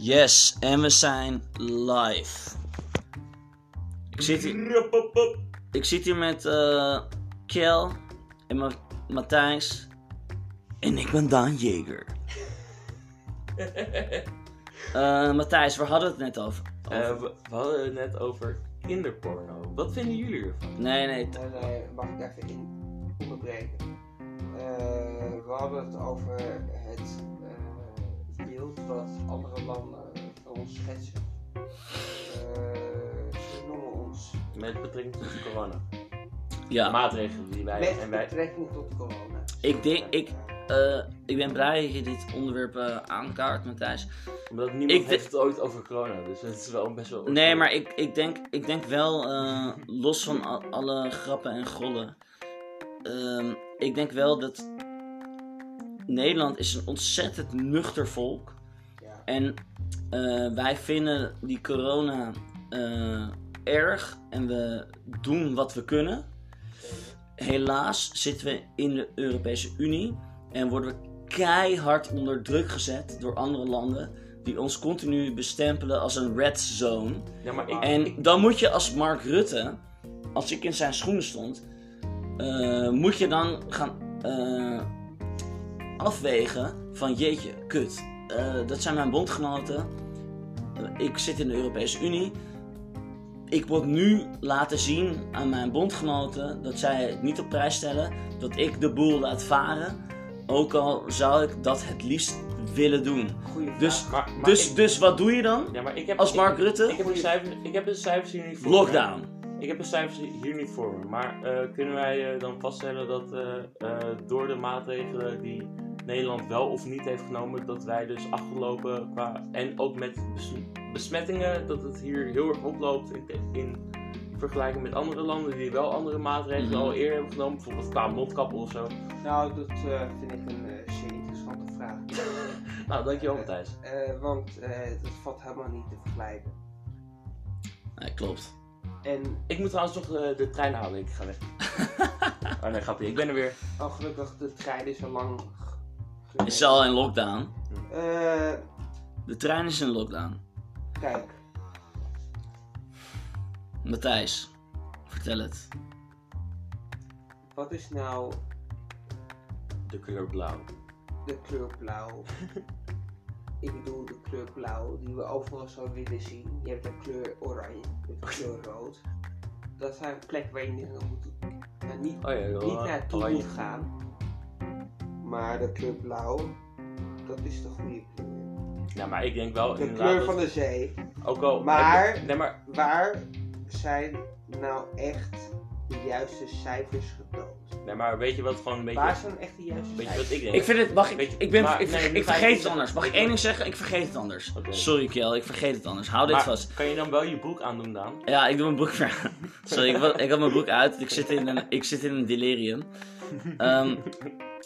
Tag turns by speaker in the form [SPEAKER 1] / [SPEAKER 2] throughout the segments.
[SPEAKER 1] Yes, en we zijn live. Ik zit hier,
[SPEAKER 2] Rappapap.
[SPEAKER 1] ik zit hier met eh Kel en Ma- Matthijs. En ik ben Daan Jeger. Eh, Matthijs, waar hadden we het net over?
[SPEAKER 2] Eh, we, we hadden het net over kinderporno. Wat vinden jullie ervan?
[SPEAKER 1] Nee, nee. t-
[SPEAKER 3] Nee, nee, eh, mag ik even in onderbreken? Eh, we hadden het over het eh, beeld wat andere landen van ons schetsen. Eh, ze noemen ons
[SPEAKER 2] Met betrekking tot corona. De
[SPEAKER 1] Ja,
[SPEAKER 2] maatregelen die wij en
[SPEAKER 3] met
[SPEAKER 2] wij.
[SPEAKER 3] betrekking tot corona.
[SPEAKER 1] ik denk, ik,
[SPEAKER 3] Eh,
[SPEAKER 1] eh, ik ben blij dat je dit onderwerp eh, aankaart, Matthijs.
[SPEAKER 2] Omdat niemand
[SPEAKER 1] Ik
[SPEAKER 2] heeft het ooit over corona. Dus het is wel best wel.
[SPEAKER 1] Nee, maar ik, ik, denk, ik denk wel, eh, los van al- alle grappen en gollen. ehm, ik denk wel dat Nederland is een ontzettend nuchter volk.
[SPEAKER 3] ja.
[SPEAKER 1] En eh, wij vinden die corona eh, erg en we doen wat we kunnen. Helaas zitten we in de Europese Unie en worden keihard onder druk gezet door andere landen die ons continu bestempelen als een red zone.
[SPEAKER 2] Ja, maar ik.
[SPEAKER 1] En
[SPEAKER 2] ik-
[SPEAKER 1] dan moet je als Mark Rutte, als ik in zijn schoenen stond, eh, moet je dan gaan eh, afwegen van jeetje, kut, eh, dat zijn mijn bondgenoten, Eh, ik zit in de Europese Unie, ik moet nu laten zien aan mijn bondgenoten dat zij het niet op prijs stellen, dat ik de boel laat varen, ook al zou ik dat het liefst willen doen.
[SPEAKER 3] Goeie vraag.
[SPEAKER 1] Dus,
[SPEAKER 2] maar, maar
[SPEAKER 1] dus,
[SPEAKER 2] ik-
[SPEAKER 1] dus wat doe je dan?
[SPEAKER 2] ja, maar ik heb,
[SPEAKER 1] Als
[SPEAKER 2] ik-
[SPEAKER 1] Mark Rutte?
[SPEAKER 2] Ik heb, de cijfers, ik heb de cijfers hier niet voor me.
[SPEAKER 1] Lockdown.
[SPEAKER 2] Ik heb de cijfers hier niet voor me. Maar eh, kunnen wij eh, dan vaststellen dat eh, eh, door de maatregelen die Nederland wel of niet heeft genomen, dat wij dus afgelopen qua. En ook met bes- besmettingen, dat het hier heel erg oploopt in, in vergelijking met andere landen die wel andere maatregelen
[SPEAKER 1] Mhm.
[SPEAKER 2] al eerder hebben genomen, bijvoorbeeld qua mondkappen of zo.
[SPEAKER 3] Nou, dat eh, vind ik een eh, zeer interessante vraag.
[SPEAKER 2] Nou, dankjewel Matthijs.
[SPEAKER 3] Eh, want eh, dat valt helemaal niet te vergelijken.
[SPEAKER 1] Nee, klopt.
[SPEAKER 3] En
[SPEAKER 2] Ik moet trouwens nog eh, de trein halen, ik ga weg. oh nee, grapje, ik ben er weer.
[SPEAKER 3] al oh, gelukkig, de trein is al lang. g-
[SPEAKER 1] Is
[SPEAKER 3] geweest.
[SPEAKER 1] ze al in lockdown?
[SPEAKER 3] Eh,
[SPEAKER 1] De trein is in lockdown.
[SPEAKER 3] kijk.
[SPEAKER 1] Matthijs, vertel het.
[SPEAKER 3] Wat is nou
[SPEAKER 2] De kleur blauw.
[SPEAKER 3] de kleur blauw? Ik bedoel de kleur blauw die we overal zouden willen zien. Je hebt de kleur oranje, de kleur rood. Dat zijn plekken waar je niet naar, moet, naar niet,
[SPEAKER 2] Oh ja,
[SPEAKER 3] niet naartoe
[SPEAKER 2] oranje.
[SPEAKER 3] moet gaan. Maar de kleur blauw, dat is de goede kleur.
[SPEAKER 2] Ja, maar ik denk wel
[SPEAKER 3] De
[SPEAKER 2] inderdaad
[SPEAKER 3] kleur
[SPEAKER 2] dat-
[SPEAKER 3] van de zee.
[SPEAKER 2] Ook al.
[SPEAKER 3] Maar-
[SPEAKER 2] heb ik- Nee, maar.
[SPEAKER 3] Waar zijn nou echt de juiste cijfers getoond?
[SPEAKER 2] Nee, maar weet je wat gewoon een beetje.
[SPEAKER 3] Waar zijn echt de juiste
[SPEAKER 2] Weet je
[SPEAKER 3] cijfers?
[SPEAKER 2] wat ik denk?
[SPEAKER 1] Ik vind het, mag ik,
[SPEAKER 2] Weet je-
[SPEAKER 1] ik, ben,
[SPEAKER 2] maar-
[SPEAKER 1] ik,
[SPEAKER 2] nee,
[SPEAKER 1] ik
[SPEAKER 2] nu ga
[SPEAKER 1] vergeet
[SPEAKER 2] ik-
[SPEAKER 1] het anders. Mag ik
[SPEAKER 2] ik-
[SPEAKER 1] één ding zeggen? Ik vergeet het anders.
[SPEAKER 2] Oké.
[SPEAKER 1] Sorry Kjell, ik vergeet het anders. Hou dit
[SPEAKER 2] Maar
[SPEAKER 1] vast.
[SPEAKER 2] Kan je dan wel je broek aandoen, Daan?
[SPEAKER 1] Ja, ik doe mijn broek weer aan. Sorry, ik, wa- ik had mijn broek uit. Ik zit in een, ik zit in een delirium. Ehm,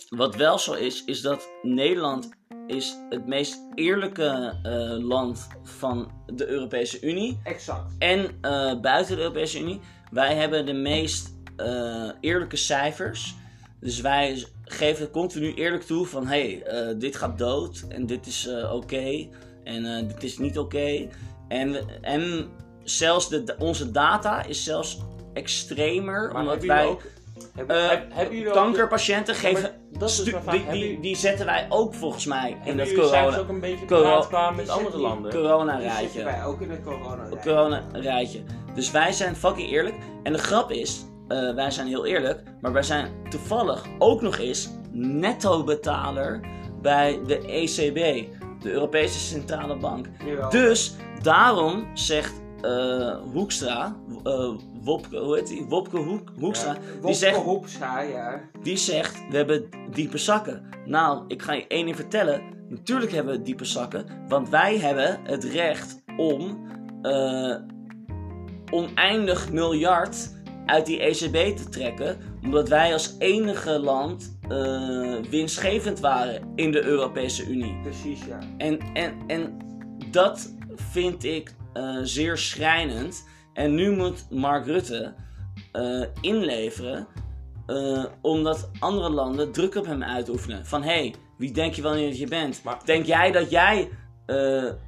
[SPEAKER 1] wat wel zo is, is dat Nederland is het meest eerlijke eh, land van de Europese Unie.
[SPEAKER 3] Exact.
[SPEAKER 1] en eh, buiten de Europese Unie. Wij hebben de meest eh, eerlijke cijfers. Dus wij geven continu eerlijk toe van hé, hey, eh, dit gaat dood en dit is eh, oké en eh, dit is niet oké. En, we- en zelfs de, onze data is zelfs extremer
[SPEAKER 2] Maar
[SPEAKER 1] omdat
[SPEAKER 2] hebben jullie
[SPEAKER 1] wij
[SPEAKER 2] ook. Hebben,
[SPEAKER 1] eh,
[SPEAKER 2] heb- hebben jullie ook-
[SPEAKER 1] kankerpatiënten
[SPEAKER 2] Ja, maar
[SPEAKER 1] geven.
[SPEAKER 2] Dat is
[SPEAKER 1] stu-
[SPEAKER 2] dus mijn vraag.
[SPEAKER 1] die,
[SPEAKER 2] Hebben
[SPEAKER 1] die,
[SPEAKER 2] jullie-
[SPEAKER 1] die zetten wij ook volgens mij in
[SPEAKER 2] hebben
[SPEAKER 1] dat
[SPEAKER 2] jullie cijfers
[SPEAKER 1] corona,
[SPEAKER 2] ook een beetje
[SPEAKER 1] corona-
[SPEAKER 2] corona, kwamen met
[SPEAKER 3] die zit
[SPEAKER 2] andere
[SPEAKER 3] niet-
[SPEAKER 2] landen?
[SPEAKER 1] corona
[SPEAKER 3] Die
[SPEAKER 1] rijtje.
[SPEAKER 3] zitten wij ook in de corona
[SPEAKER 1] Op corona-rijtje. Dus wij zijn fucking eerlijk. En de grap is, eh, wij zijn heel eerlijk, maar wij zijn toevallig ook nog eens netto-betaler bij de ECB, de Europese Centrale Bank.
[SPEAKER 3] Jawel.
[SPEAKER 1] Dus daarom zegt eh, Hoekstra, eh, Wopke, hoe heet die? Wopke Hoek, Hoekstra, die,
[SPEAKER 3] Wopke
[SPEAKER 1] zegt,
[SPEAKER 3] Hoekstra, ja.
[SPEAKER 1] die zegt, we hebben diepe zakken. Nou, ik ga je één ding vertellen. Natuurlijk hebben we diepe zakken, want wij hebben het recht om eh, oneindig miljard uit die ECB te trekken, omdat wij als enige land eh, winstgevend waren in de Europese Unie.
[SPEAKER 3] Precies, ja.
[SPEAKER 1] En, en, en dat vind ik eh, zeer schrijnend. En nu moet Mark Rutte eh, inleveren. eh, omdat andere landen druk op hem uitoefenen. Van hé, hey, wie denk je wel niet dat je bent?
[SPEAKER 2] Maar-
[SPEAKER 1] Denk jij dat jij eh,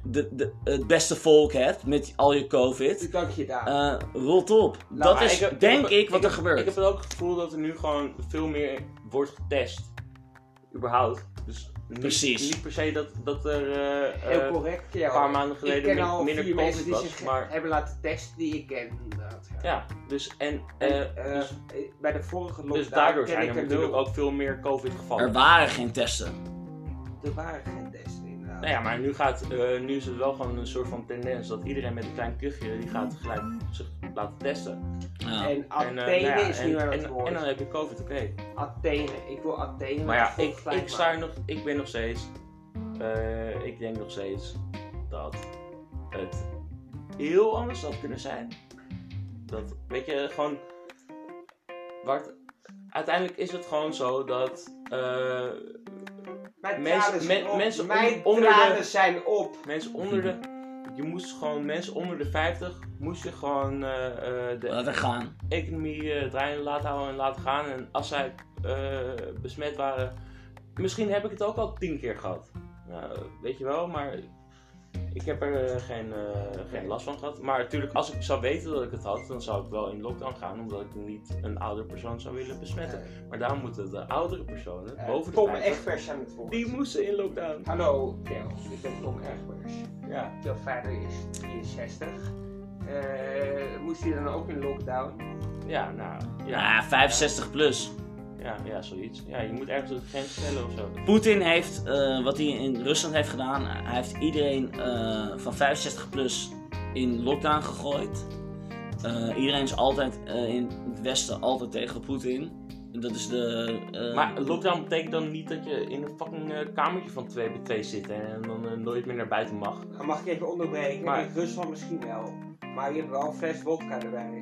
[SPEAKER 1] de, de, het beste volk hebt met al je COVID.
[SPEAKER 3] Dus dank je daar.
[SPEAKER 1] Eh, rot op. dat
[SPEAKER 2] Nou, maar
[SPEAKER 1] is,
[SPEAKER 2] ik heb-
[SPEAKER 1] denk
[SPEAKER 2] ik
[SPEAKER 1] ik,
[SPEAKER 2] heb-
[SPEAKER 1] wat er gebeurt.
[SPEAKER 2] Ik heb ook het gevoel dat er nu gewoon veel meer wordt getest. Überhaupt. Dus niet,
[SPEAKER 1] Precies.
[SPEAKER 2] niet per se dat, dat er eh, eh,
[SPEAKER 3] Heel correct, ja.
[SPEAKER 2] een paar maanden geleden
[SPEAKER 3] ik ken
[SPEAKER 2] min-
[SPEAKER 3] al
[SPEAKER 2] minder
[SPEAKER 3] vier
[SPEAKER 2] COVID
[SPEAKER 3] mensen die
[SPEAKER 2] was,
[SPEAKER 3] zich
[SPEAKER 2] maar-
[SPEAKER 3] hebben laten testen die ik ken, inderdaad. Ja.
[SPEAKER 2] ja, dus en...
[SPEAKER 3] En,
[SPEAKER 2] eh,
[SPEAKER 3] eh,
[SPEAKER 2] dus,
[SPEAKER 3] bij de vorige lockdown
[SPEAKER 2] dus daardoor
[SPEAKER 3] ken
[SPEAKER 2] zijn
[SPEAKER 3] ik
[SPEAKER 2] er
[SPEAKER 3] er
[SPEAKER 2] natuurlijk
[SPEAKER 3] nul.
[SPEAKER 2] ook veel meer
[SPEAKER 1] Er
[SPEAKER 2] COVID-gevallen.
[SPEAKER 1] waren geen testen.
[SPEAKER 3] Er waren geen testen, inderdaad.
[SPEAKER 2] Nou ja, maar nu, gaat, eh, nu is het wel gewoon een soort van tendens dat iedereen met een klein kuchje die gaat gelijk zich laten testen.
[SPEAKER 1] Ja.
[SPEAKER 3] En
[SPEAKER 2] En, eh,
[SPEAKER 3] Athene
[SPEAKER 2] nou ja,
[SPEAKER 3] Oh, is
[SPEAKER 2] en-
[SPEAKER 3] nu aan
[SPEAKER 2] en-
[SPEAKER 3] het woord.
[SPEAKER 2] En dan heb je COVID, oké.
[SPEAKER 3] Athene, ik wil Athene.
[SPEAKER 2] Maar ja, ik,
[SPEAKER 3] volksfijn
[SPEAKER 2] ik, sta er
[SPEAKER 3] maken.
[SPEAKER 2] nog, ik ben nog steeds. eh, ik denk nog steeds dat het heel anders had kunnen zijn. Dat, weet je, gewoon. Bart, uiteindelijk is het gewoon zo dat. eh,
[SPEAKER 3] Mijn
[SPEAKER 2] mensen-
[SPEAKER 3] tranen zijn
[SPEAKER 2] men-
[SPEAKER 3] op.
[SPEAKER 2] mensen
[SPEAKER 3] Mijn
[SPEAKER 2] onder- onder de-
[SPEAKER 3] tranen zijn op.
[SPEAKER 2] mensen onder de. Je moest gewoon, mensen onder de 50 moest je gewoon eh, eh, de
[SPEAKER 1] Laten gaan.
[SPEAKER 2] economie eh, draaiende laten houden en laten gaan. En als zij eh, besmet waren, misschien heb ik het ook al tien keer gehad. Nou, weet je wel, maar ik heb er eh, geen, eh, geen last van gehad. Maar natuurlijk, als ik zou weten dat ik het had, dan zou ik wel in lockdown gaan, omdat ik niet een oudere persoon zou willen besmetten. Maar daarom moeten de oudere personen,
[SPEAKER 3] Eh,
[SPEAKER 2] boven de
[SPEAKER 3] Tom
[SPEAKER 2] 50,
[SPEAKER 3] Egbers aan het woord.
[SPEAKER 2] die moesten in lockdown.
[SPEAKER 3] Hallo, Theo. Ik ben Tom Egbers.
[SPEAKER 2] Ja.
[SPEAKER 3] Veel verder is 63. Eh, moest hij dan ook in lockdown?
[SPEAKER 2] Ja, nou, ja,
[SPEAKER 1] Ja, 65 Ah, plus.
[SPEAKER 2] ja, ja, zoiets. Ja, je moet ergens een grens stellen of zo.
[SPEAKER 1] Poetin heeft, eh, wat hij in Rusland heeft gedaan, hij heeft iedereen eh, van 65 plus in lockdown gegooid. Eh, iedereen is altijd eh, in het Westen altijd tegen Poetin. Dat is de. eh,
[SPEAKER 2] Maar een lockdown betekent dan niet dat je in een fucking eh, kamertje van 2 bij 2 zit en dan eh, nooit meer naar buiten mag.
[SPEAKER 3] Dan mag ik even onderbreken.
[SPEAKER 2] Maar-
[SPEAKER 3] In Rusland misschien wel. Maar je hebt wel een fles vodka erbij.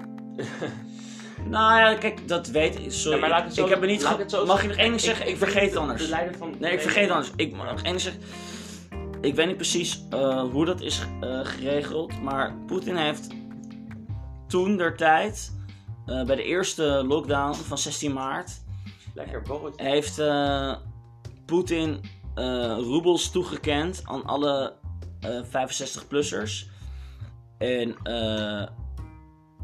[SPEAKER 1] Nou ja, kijk, dat weet ik. Sorry,
[SPEAKER 2] Ja, maar laat ik
[SPEAKER 1] ik,
[SPEAKER 2] het zo-
[SPEAKER 1] ik heb er niet.
[SPEAKER 2] laat
[SPEAKER 1] ge-
[SPEAKER 2] ik het zo
[SPEAKER 1] Mag je
[SPEAKER 2] zeggen.
[SPEAKER 1] nog één ding zeggen? Ik, vergeet het anders.
[SPEAKER 2] De leider van.
[SPEAKER 1] Nee, ik vergeet het anders. Ik mag nog één ding zeggen. Ik weet niet precies eh, hoe dat is eh, geregeld, maar Poetin heeft toen der tijd, eh, bij de eerste lockdown van 16 maart,
[SPEAKER 2] Lekker borreltje.
[SPEAKER 1] heeft eh, Poetin eh, roebels toegekend aan alle eh, 65-plussers. En eh,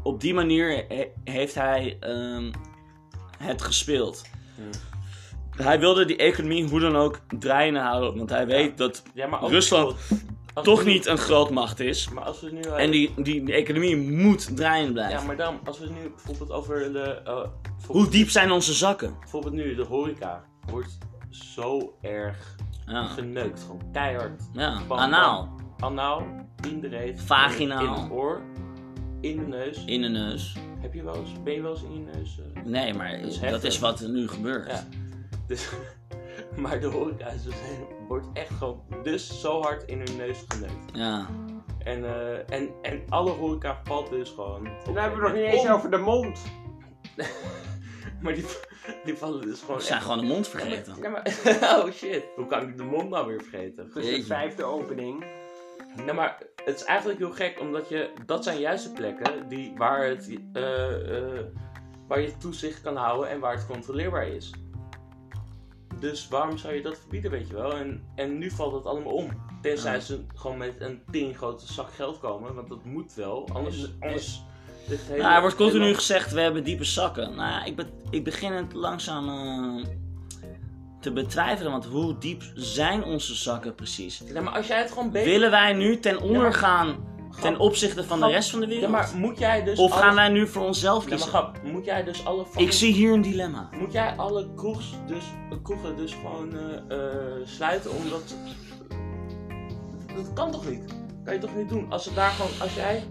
[SPEAKER 1] op die manier he- heeft hij ehm, het gespeeld. Hij wilde die economie hoe dan ook draaiende houden, want hij weet dat
[SPEAKER 2] Ja, maar ook-
[SPEAKER 1] Rusland
[SPEAKER 2] als
[SPEAKER 1] toch
[SPEAKER 2] we nu-
[SPEAKER 1] niet een grootmacht is.
[SPEAKER 2] Maar als we nu. eh,
[SPEAKER 1] En die, die, die economie moet draaiend blijven.
[SPEAKER 2] Ja, maar dan, als we nu bijvoorbeeld over de. eh, bijvoorbeeld,
[SPEAKER 1] Hoe diep zijn onze zakken?
[SPEAKER 2] bijvoorbeeld nu, de horeca wordt zo erg
[SPEAKER 1] Ja,
[SPEAKER 2] geneukt. Gewoon keihard.
[SPEAKER 1] ja.
[SPEAKER 2] Van-
[SPEAKER 1] anaal.
[SPEAKER 2] Anaal, in de reet,
[SPEAKER 1] Vaginaal.
[SPEAKER 2] in het oor, in de neus.
[SPEAKER 1] In de neus.
[SPEAKER 2] Heb je wel eens, ben je wel eens in je neus? eh,
[SPEAKER 1] Nee, maar
[SPEAKER 2] is
[SPEAKER 1] dat,
[SPEAKER 2] heftig.
[SPEAKER 1] is wat er nu gebeurt.
[SPEAKER 2] Ja. Dus, maar de horeca is dus, wordt echt gewoon dus zo hard in hun neus geneukt.
[SPEAKER 1] Ja.
[SPEAKER 2] En, eh, en, en alle horeca valt dus gewoon.
[SPEAKER 3] En
[SPEAKER 2] op
[SPEAKER 3] dan hebben we
[SPEAKER 2] een
[SPEAKER 3] nog niet eens
[SPEAKER 2] om.
[SPEAKER 3] over de mond.
[SPEAKER 2] Maar die, die vallen dus gewoon.
[SPEAKER 1] We zijn
[SPEAKER 2] echt-
[SPEAKER 1] gewoon de mond vergeten.
[SPEAKER 2] Ja, maar, oh shit. Hoe kan ik de mond nou weer vergeten?
[SPEAKER 3] Dus de
[SPEAKER 1] Jeetje.
[SPEAKER 3] vijfde opening.
[SPEAKER 2] Nou, maar het is eigenlijk heel gek, omdat je, dat zijn juist de plekken die, waar, het, eh, eh, waar je toezicht kan houden en waar het controleerbaar is. Dus waarom zou je dat verbieden, weet je wel? En, en nu valt het allemaal om. Tenzij
[SPEAKER 1] Ja.
[SPEAKER 2] ze gewoon met een ting grote zak geld komen, want dat moet wel. Anders,
[SPEAKER 1] En-
[SPEAKER 2] anders ligt het
[SPEAKER 1] Nou, er wordt continu
[SPEAKER 2] helemaal-
[SPEAKER 1] gezegd, we hebben diepe zakken. Nou, ja, ik, be- ik begin het langzaam eh, te betwijfelen, want hoe diep zijn onze zakken precies?
[SPEAKER 2] Ja, maar als jij het gewoon beter...
[SPEAKER 1] Willen wij nu ten onder gaan ten
[SPEAKER 2] Grap.
[SPEAKER 1] opzichte van de
[SPEAKER 2] Grap.
[SPEAKER 1] rest van de
[SPEAKER 2] Ja,
[SPEAKER 1] wereld?
[SPEAKER 2] maar moet jij dus...
[SPEAKER 1] Of gaan
[SPEAKER 2] alle-
[SPEAKER 1] wij nu voor onszelf
[SPEAKER 2] Ja, maar
[SPEAKER 1] kiezen?
[SPEAKER 2] grap, moet jij dus alle...
[SPEAKER 1] Ik
[SPEAKER 2] fucking-
[SPEAKER 1] zie hier een dilemma.
[SPEAKER 2] Moet jij alle kroegs dus, kroegen dus gewoon eh, eh, sluiten omdat... ze- Dat kan toch niet? Kan je toch niet doen? Als, het daar gewoon, als jij...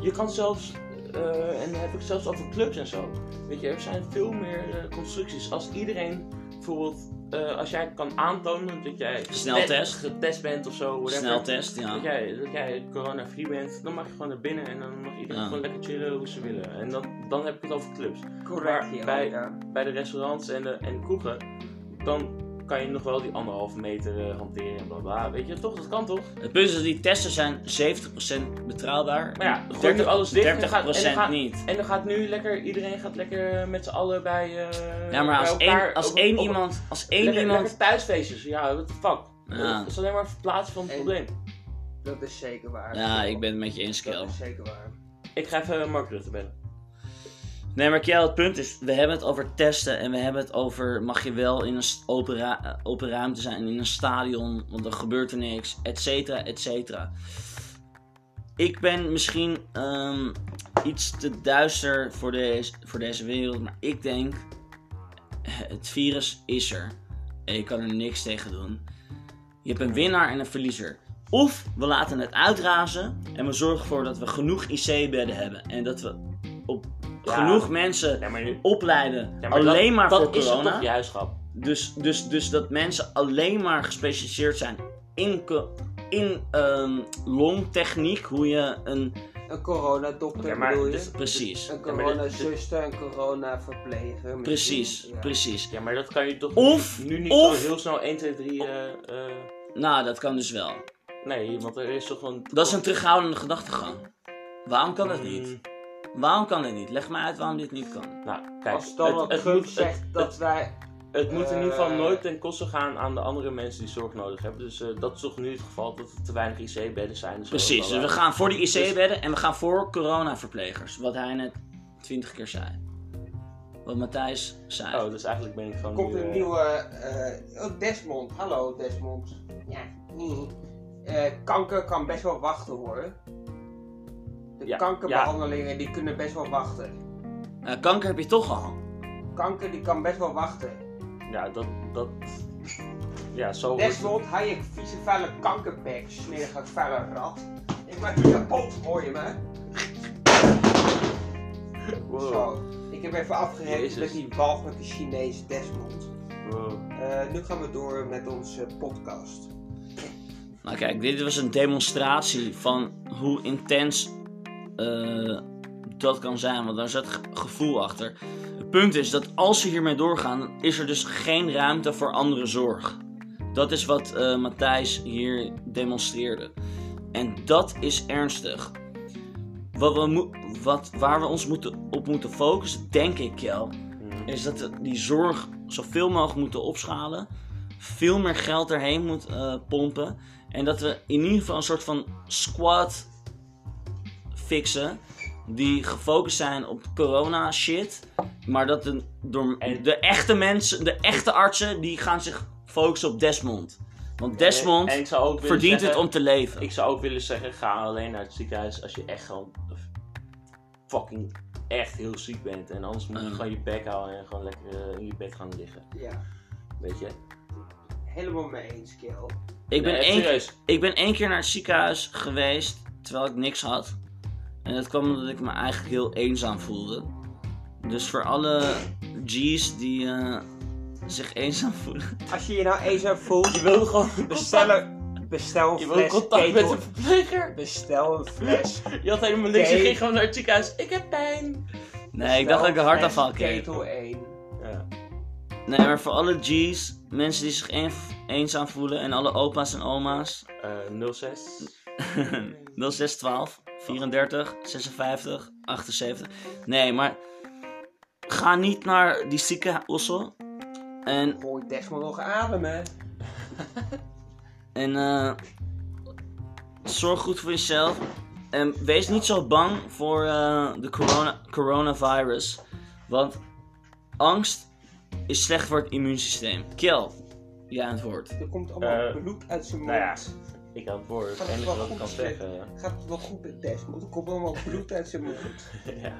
[SPEAKER 2] Je kan zelfs... eh, en dan heb ik het zelfs over clubs en zo. Weet je, er zijn veel meer eh, constructies. Als iedereen bijvoorbeeld... eh, als jij kan aantonen dat jij... getest-
[SPEAKER 1] Sneltest.
[SPEAKER 2] Getest bent of zo, whatever.
[SPEAKER 1] Sneltest, ja.
[SPEAKER 2] Dat jij, dat jij corona-free bent, dan mag je gewoon naar binnen en dan mag iedereen
[SPEAKER 1] Ja.
[SPEAKER 2] gewoon lekker chillen hoe ze willen. En dan, dan heb ik het over clubs
[SPEAKER 3] Correct,
[SPEAKER 2] Maar
[SPEAKER 3] ja.
[SPEAKER 2] bij-
[SPEAKER 3] ja.
[SPEAKER 2] bij de restaurants en de, en de kroegen, dan kan je nog wel die anderhalve meter eh, hanteren en bla bla. Weet je toch? Dat kan toch?
[SPEAKER 1] Het punt is dat die testen zijn 70% betrouwbaar.
[SPEAKER 2] Maar ja, gooi nu
[SPEAKER 1] 30,
[SPEAKER 2] alles dicht en
[SPEAKER 1] 30%
[SPEAKER 2] gaat- en gaat-
[SPEAKER 1] niet.
[SPEAKER 2] En dan gaat nu lekker, iedereen gaat lekker met z'n allen bij. eh,
[SPEAKER 1] Ja, maar als
[SPEAKER 2] bij elkaar
[SPEAKER 1] één, als
[SPEAKER 2] op-
[SPEAKER 1] één
[SPEAKER 2] op-
[SPEAKER 1] iemand... Als één
[SPEAKER 2] Lekker,
[SPEAKER 1] iemand...
[SPEAKER 2] lekker thuisfeestjes, ja, what the fuck.
[SPEAKER 1] Ja.
[SPEAKER 2] Dat is alleen maar verplaatsen van het
[SPEAKER 3] En-
[SPEAKER 2] probleem.
[SPEAKER 3] Dat is zeker waar.
[SPEAKER 1] Ja, ik ben het met je eens,
[SPEAKER 3] Dat
[SPEAKER 1] Kel.
[SPEAKER 3] is zeker waar.
[SPEAKER 2] Ik ga even Mark Rutte bellen.
[SPEAKER 1] Nee, maar Kel, het punt is, we hebben het over testen en we hebben het over mag je wel in een s- open, ra- eh, open ruimte zijn, in een stadion, want dan gebeurt er niks, et cetera, et cetera. Ik ben misschien ehm, iets te duister voor, deze voor deze wereld, maar ik denk, het virus is er en je kan er niks tegen doen. Je hebt een winnaar en een verliezer. Of we laten het uitrazen en we zorgen ervoor dat we genoeg IC-bedden hebben en dat we op
[SPEAKER 2] Ja.
[SPEAKER 1] genoeg mensen
[SPEAKER 2] Ja, maar nu...
[SPEAKER 1] opleiden
[SPEAKER 2] Ja,
[SPEAKER 1] alleen
[SPEAKER 2] dat,
[SPEAKER 1] maar
[SPEAKER 2] dat
[SPEAKER 1] voor
[SPEAKER 2] is het
[SPEAKER 1] corona.
[SPEAKER 2] toch je huisschap.
[SPEAKER 1] dus, dus, dus dat mensen alleen maar gespecialiseerd zijn in, co- in ehm, longtechniek, hoe je een...
[SPEAKER 3] Een coronadokter
[SPEAKER 2] Ja, maar
[SPEAKER 3] bedoel je?
[SPEAKER 2] dus-
[SPEAKER 1] Precies,
[SPEAKER 3] Een
[SPEAKER 2] Ja, maar dit-
[SPEAKER 3] coronazuster, een coronaverpleger. misschien.
[SPEAKER 1] precies,
[SPEAKER 3] Ja.
[SPEAKER 1] precies.
[SPEAKER 2] Ja, maar dat kan je toch
[SPEAKER 1] Of-
[SPEAKER 2] nu niet
[SPEAKER 1] of-
[SPEAKER 2] zo heel snel 1, 2, 3... eh, eh,
[SPEAKER 1] Nou, dat kan dus wel.
[SPEAKER 2] nee, want er is toch een...
[SPEAKER 1] Dat is een terughoudende gedachtegang. Waarom kan dat
[SPEAKER 2] Mm,
[SPEAKER 1] niet? Waarom kan dit niet? Leg mij uit waarom dit niet kan.
[SPEAKER 2] Nou, kijk,
[SPEAKER 3] Als Donald
[SPEAKER 2] het, het,
[SPEAKER 3] Trump
[SPEAKER 2] moet, het,
[SPEAKER 3] zegt dat wij...
[SPEAKER 2] het moet in ieder geval
[SPEAKER 3] eh,
[SPEAKER 2] nooit ten koste gaan aan de andere mensen die zorg nodig hebben. Dus eh, dat is toch nu het geval dat er te weinig IC-bedden zijn. Dus
[SPEAKER 1] Precies,
[SPEAKER 2] wel-
[SPEAKER 1] dus we gaan voor die IC-bedden en we gaan voor coronaverplegers. Wat hij net twintig keer zei. Wat Matthijs zei.
[SPEAKER 2] Oh, dus eigenlijk ben ik gewoon
[SPEAKER 3] Komt
[SPEAKER 2] nu,
[SPEAKER 3] een
[SPEAKER 2] eh,
[SPEAKER 3] nieuwe... eh, oh, Desmond. Hallo, Desmond. Ja, nee. Eh, kanker kan best wel wachten, hoor. De
[SPEAKER 2] Ja,
[SPEAKER 3] kankerbehandelingen, die kunnen best wel wachten.
[SPEAKER 1] Eh, kanker heb je toch al.
[SPEAKER 3] Kanker, die kan best wel wachten.
[SPEAKER 2] Ja, dat... dat ja, zo... wordt het.
[SPEAKER 3] Desmond, hij ik vieze vuile kankerbek, smerige vuile rat. Ik maak je kapot, hoor je me?
[SPEAKER 2] Wow.
[SPEAKER 3] Zo, ik heb even afgerekend
[SPEAKER 2] Jezus.
[SPEAKER 3] met die walgelijke Chinees Desmond.
[SPEAKER 2] wow.
[SPEAKER 3] Eh, nu gaan we door met onze podcast.
[SPEAKER 1] Nou kijk, dit was een demonstratie van hoe intens eh, dat kan zijn, want daar zit ge- gevoel achter. Het punt is dat als ze hiermee doorgaan, dan is er dus geen ruimte voor andere zorg. Dat is wat eh, Matthijs hier demonstreerde. En dat is ernstig. Wat we moe- wat, waar we ons moeten, op moeten focussen, denk ik, Kel,
[SPEAKER 2] Mm.
[SPEAKER 1] is dat we die zorg zoveel mogelijk moeten opschalen. Veel meer geld erheen moet eh, pompen. En dat we in ieder geval een soort van squad fixen. Die gefocust zijn op corona shit. Maar dat de, door,
[SPEAKER 2] En-
[SPEAKER 1] de echte mensen, de echte artsen, die gaan zich focussen op Desmond. Want Desmond
[SPEAKER 2] En ik zou ook willen
[SPEAKER 1] verdient
[SPEAKER 2] zeggen-
[SPEAKER 1] het om te leven.
[SPEAKER 2] Ik zou ook willen zeggen, ga alleen naar het ziekenhuis als je echt gewoon fucking echt heel ziek bent. En anders moet je
[SPEAKER 1] Ja.
[SPEAKER 2] gewoon je bek houden en gewoon lekker eh, in je bed gaan liggen.
[SPEAKER 3] Ja,
[SPEAKER 2] Weet je?
[SPEAKER 3] helemaal mee eens, Kel.
[SPEAKER 1] Ik ben
[SPEAKER 2] Nee,
[SPEAKER 1] één
[SPEAKER 2] serieus.
[SPEAKER 1] Ik ben één keer naar het ziekenhuis geweest terwijl ik niks had. En dat kwam omdat ik me eigenlijk heel eenzaam voelde. Dus voor alle G's die eh, zich eenzaam voelen.
[SPEAKER 3] Als je je nou eens zo voelt,
[SPEAKER 2] Je wil gewoon
[SPEAKER 3] bestel, bestel een
[SPEAKER 2] Je wil
[SPEAKER 3] fles
[SPEAKER 2] contact met
[SPEAKER 3] ketel-
[SPEAKER 2] een verpleger.
[SPEAKER 3] Bestel een fles.
[SPEAKER 2] Je had helemaal niks. Je
[SPEAKER 3] Nee.
[SPEAKER 2] ging gewoon naar het ziekenhuis. Ik heb pijn.
[SPEAKER 1] Nee, ik dacht dat ik een hartafval
[SPEAKER 3] afval
[SPEAKER 1] kreeg.
[SPEAKER 3] Ketel 1.
[SPEAKER 2] Ja.
[SPEAKER 1] Nee, maar voor alle G's, mensen die zich een- eenzaam voelen en alle opa's en oma's.
[SPEAKER 2] Eh 06.
[SPEAKER 1] 06 12 34 56 78. Nee, maar ga niet naar die ziekenhuizen. En
[SPEAKER 3] Hoor Desmond nog ademen?
[SPEAKER 1] En eh, zorg goed voor jezelf. En wees niet zo bang voor eh, de corona coronavirus. Want angst is slecht voor het immuunsysteem. Kel, jij aan het woord.
[SPEAKER 3] Er komt allemaal
[SPEAKER 2] Eh,
[SPEAKER 3] bloed uit zijn mond.
[SPEAKER 2] nou ja. Ik had het woord. Het
[SPEAKER 3] Gaat het
[SPEAKER 2] enige
[SPEAKER 3] wel
[SPEAKER 2] wat ik
[SPEAKER 3] goed
[SPEAKER 2] kan
[SPEAKER 3] met je?
[SPEAKER 2] zeggen.
[SPEAKER 3] Gaat het wel goed met Desmond? Er komt allemaal bloed uit zijn
[SPEAKER 2] Nou,
[SPEAKER 3] mond.
[SPEAKER 2] ja.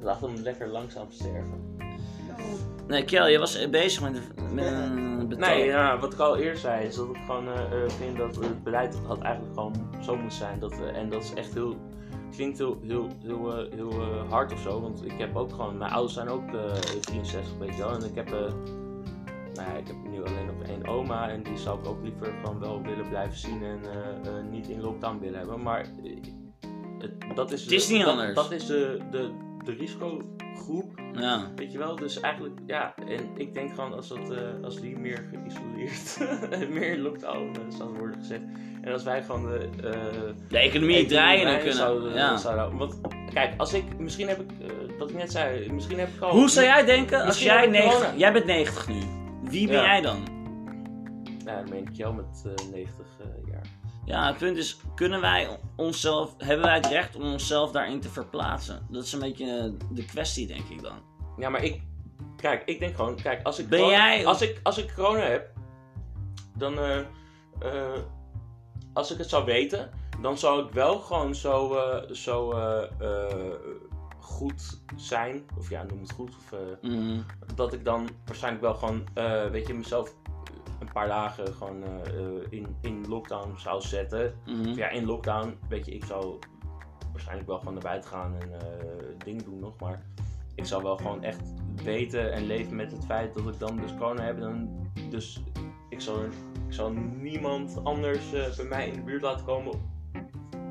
[SPEAKER 2] Laat hem lekker langzaam sterven.
[SPEAKER 3] Nou,
[SPEAKER 1] Nee, Kel, je was eh, bezig met, een- met een betoog.
[SPEAKER 2] Nee, eh, ja, wat ik al eerder zei is dat ik gewoon eh, eh, vind dat het beleid had eigenlijk gewoon zo moet zijn. Dat, eh, en dat is echt heel, klinkt heel, heel, heel, eh, heel eh, hard of zo. Want ik heb ook gewoon, mijn ouders zijn ook eh 63, weet je wel. En ik heb, eh, nou ja, ik heb nu alleen nog één oma. En die zou ik ook liever gewoon wel willen blijven zien en eh, eh, niet in lockdown willen hebben. Maar eh, het, dat is...
[SPEAKER 1] Het is
[SPEAKER 2] de-
[SPEAKER 1] niet
[SPEAKER 2] dat-
[SPEAKER 1] anders.
[SPEAKER 2] Dat is de, de, de risicogroep
[SPEAKER 1] Ja.
[SPEAKER 2] Weet je wel, dus eigenlijk, ja, en ik denk gewoon als, dat, eh, als die meer geïsoleerd, en meer in lockdown eh, zouden worden gezet. En als wij gewoon de eh,
[SPEAKER 1] De economie draaien
[SPEAKER 2] economie
[SPEAKER 1] kunnen.
[SPEAKER 2] Zouden, eh,
[SPEAKER 1] ja.
[SPEAKER 2] zouden- want kijk, als ik, misschien heb ik, eh, dat ik net zei, misschien heb ik al...
[SPEAKER 1] Hoe zou jij denken als
[SPEAKER 2] Misschien
[SPEAKER 1] jij
[SPEAKER 2] heb ik
[SPEAKER 1] 90...
[SPEAKER 2] corona.
[SPEAKER 1] Jij bent 90 nu. Wie ben
[SPEAKER 2] Ja.
[SPEAKER 1] jij dan?
[SPEAKER 2] Nou, dan ben ik jou met eh, 90 eh, jaar.
[SPEAKER 1] Ja, het punt is, kunnen wij onszelf, hebben wij het recht om onszelf daarin te verplaatsen? Dat is een beetje eh, de kwestie, denk ik dan.
[SPEAKER 2] Ja, maar ik. Kijk, ik denk gewoon. Kijk, als ik.
[SPEAKER 1] Ben
[SPEAKER 2] corona,
[SPEAKER 1] jij-
[SPEAKER 2] Als ik, als ik corona heb. Dan. eh, eh, als ik het zou weten. Dan zou ik wel gewoon zo. eh, zo eh, eh, goed zijn. Of ja, noem het goed. Of, eh,
[SPEAKER 1] Mhm.
[SPEAKER 2] dat ik dan waarschijnlijk wel gewoon. eh, weet je, mezelf. Een paar dagen gewoon eh, eh, in, in lockdown zou zetten.
[SPEAKER 1] mhm.
[SPEAKER 2] Ja, in lockdown, weet je, ik zou waarschijnlijk wel gewoon naar buiten gaan en eh dingen doen nog, maar ik zou wel gewoon echt weten en leven met het feit dat ik dan dus corona heb. en Dan, dus ik zal, ik zal niemand anders eh, bij mij in de buurt laten komen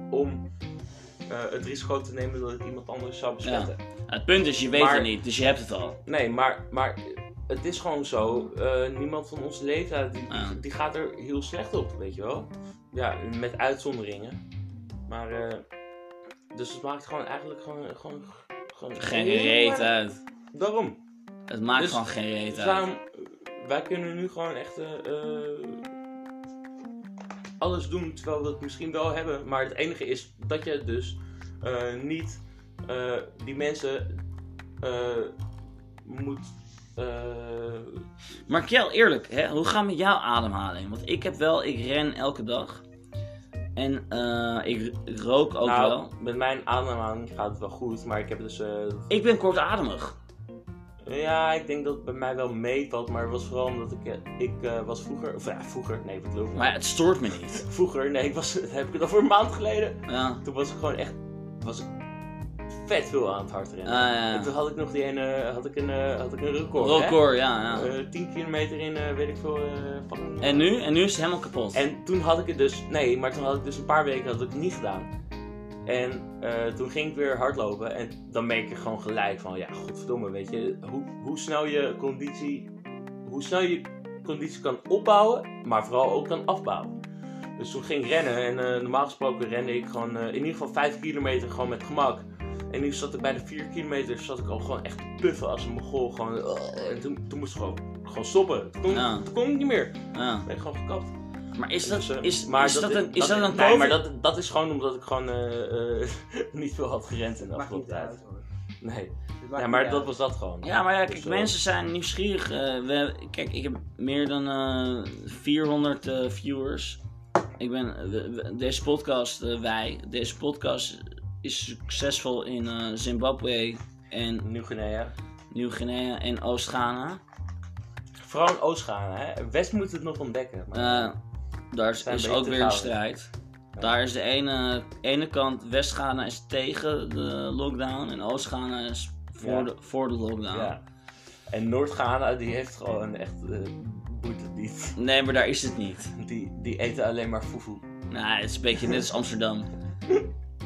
[SPEAKER 2] om eh, het risico te nemen dat ik iemand anders zou besmetten.
[SPEAKER 1] Het punt is, je weet
[SPEAKER 2] Maar-
[SPEAKER 1] het niet, dus je hebt het al.
[SPEAKER 2] Nee, maar, maar het is gewoon zo. eh, niemand van onze leeftijd die,
[SPEAKER 1] Ja.
[SPEAKER 2] die gaat er heel slecht op, weet je wel. Ja, met uitzonderingen. Maar, eh, dus het maakt gewoon eigenlijk gewoon... gewoon, gewoon
[SPEAKER 1] Geen reet uit.
[SPEAKER 2] Daarom.
[SPEAKER 1] Het maakt
[SPEAKER 2] Dus-
[SPEAKER 1] gewoon geen reet
[SPEAKER 2] Dus
[SPEAKER 1] uit.
[SPEAKER 2] daarom, eh, wij kunnen nu gewoon echt eh, eh, alles doen terwijl we het misschien wel hebben. Maar het enige is dat je dus eh, niet eh, die mensen eh, moet... eh,
[SPEAKER 1] Maar Kjell, eerlijk, hè, hoe gaat het met jouw ademhaling? Want ik heb wel, ik ren elke dag. En eh, ik r- rook ook
[SPEAKER 2] nou,
[SPEAKER 1] wel.
[SPEAKER 2] met mijn ademhaling gaat het wel goed, maar ik heb dus... eh,
[SPEAKER 1] Ik ben kortademig.
[SPEAKER 2] ja, ik denk dat het bij mij wel meevalt, maar het was vooral omdat ik... eh, Ik eh, was vroeger... Of ja, vroeger... Nee, wat loopt
[SPEAKER 1] Maar het stoort me niet.
[SPEAKER 2] Vroeger, nee, ik was, heb ik het over een maand geleden.
[SPEAKER 1] Ja.
[SPEAKER 2] Toen was ik gewoon echt... Was ik vet veel aan het hard
[SPEAKER 1] Ah,
[SPEAKER 2] rennen.
[SPEAKER 1] ja.
[SPEAKER 2] En toen had ik nog die ene... Had ik een, eh, had ik een record, hè?
[SPEAKER 1] Record, ja, ja.
[SPEAKER 2] Eh, 10 kilometer in, eh, weet ik veel... eh, fucking-
[SPEAKER 1] En nu? En nu is het helemaal kapot.
[SPEAKER 2] En toen had ik het dus, nee, maar toen had ik dus een paar weken had ik het niet gedaan. En eh, toen ging ik weer hardlopen en dan merk ik gewoon gelijk van, ja, godverdomme, weet je, hoe, hoe snel je conditie, hoe snel je conditie kan opbouwen, maar vooral ook kan afbouwen. Dus toen ging ik rennen en eh, normaal gesproken rende ik gewoon eh, in ieder geval 5 kilometer gewoon met gemak. En nu zat ik bij de 4 kilometer zat ik al gewoon echt te puffen als een mogol. Gewoon, eh, en toen, toen moest ik gewoon, gewoon stoppen. Toen kon,
[SPEAKER 1] Ja.
[SPEAKER 2] toen kon ik niet meer. Toen
[SPEAKER 1] Ja.
[SPEAKER 2] ben ik gewoon gekapt.
[SPEAKER 1] Maar is
[SPEAKER 2] Dus,
[SPEAKER 1] dat,
[SPEAKER 2] eh,
[SPEAKER 1] is,
[SPEAKER 2] maar
[SPEAKER 1] is dat, een, is dat, een
[SPEAKER 2] Nee,
[SPEAKER 1] COVID?
[SPEAKER 2] maar dat, dat is gewoon omdat ik gewoon eh, eh, niet veel had gerend in de
[SPEAKER 3] Maakt
[SPEAKER 2] afgelopen
[SPEAKER 3] niet
[SPEAKER 2] tijd.
[SPEAKER 3] uit hoor.
[SPEAKER 2] Nee,
[SPEAKER 3] Het maakt
[SPEAKER 2] ja, maar
[SPEAKER 3] niet
[SPEAKER 2] dat
[SPEAKER 3] uit.
[SPEAKER 2] was dat gewoon.
[SPEAKER 1] Ja, maar ja,
[SPEAKER 2] Dus,
[SPEAKER 1] kijk,
[SPEAKER 2] eh,
[SPEAKER 1] mensen zijn nieuwsgierig. Eh, we, kijk, ik heb meer dan eh, 400 eh, viewers. Ik ben, eh, we- we- deze podcast, eh, wij, deze podcast is succesvol in eh, Zimbabwe en
[SPEAKER 2] Nieuw-Guinea.
[SPEAKER 1] Nieuw-Guinea en Oost-Ghana.
[SPEAKER 2] Vooral in Oost-Ghana, hè. West moet het nog ontdekken. Maar...
[SPEAKER 1] Eh, daar is,
[SPEAKER 2] Zijn
[SPEAKER 1] is
[SPEAKER 2] we
[SPEAKER 1] ook
[SPEAKER 2] te
[SPEAKER 1] weer een
[SPEAKER 2] gauw.
[SPEAKER 1] strijd. Daar is de ene, ene kant, West-Ghana is tegen de lockdown en Oost-Ghana is voor,
[SPEAKER 2] Ja.
[SPEAKER 1] de, voor de lockdown.
[SPEAKER 2] ja. En Noord-Ghana, die heeft gewoon echt eh boete niet.
[SPEAKER 1] Nee, maar daar is het niet.
[SPEAKER 2] Die, die eten alleen maar fufu.
[SPEAKER 1] Nou, het is een beetje net als Amsterdam.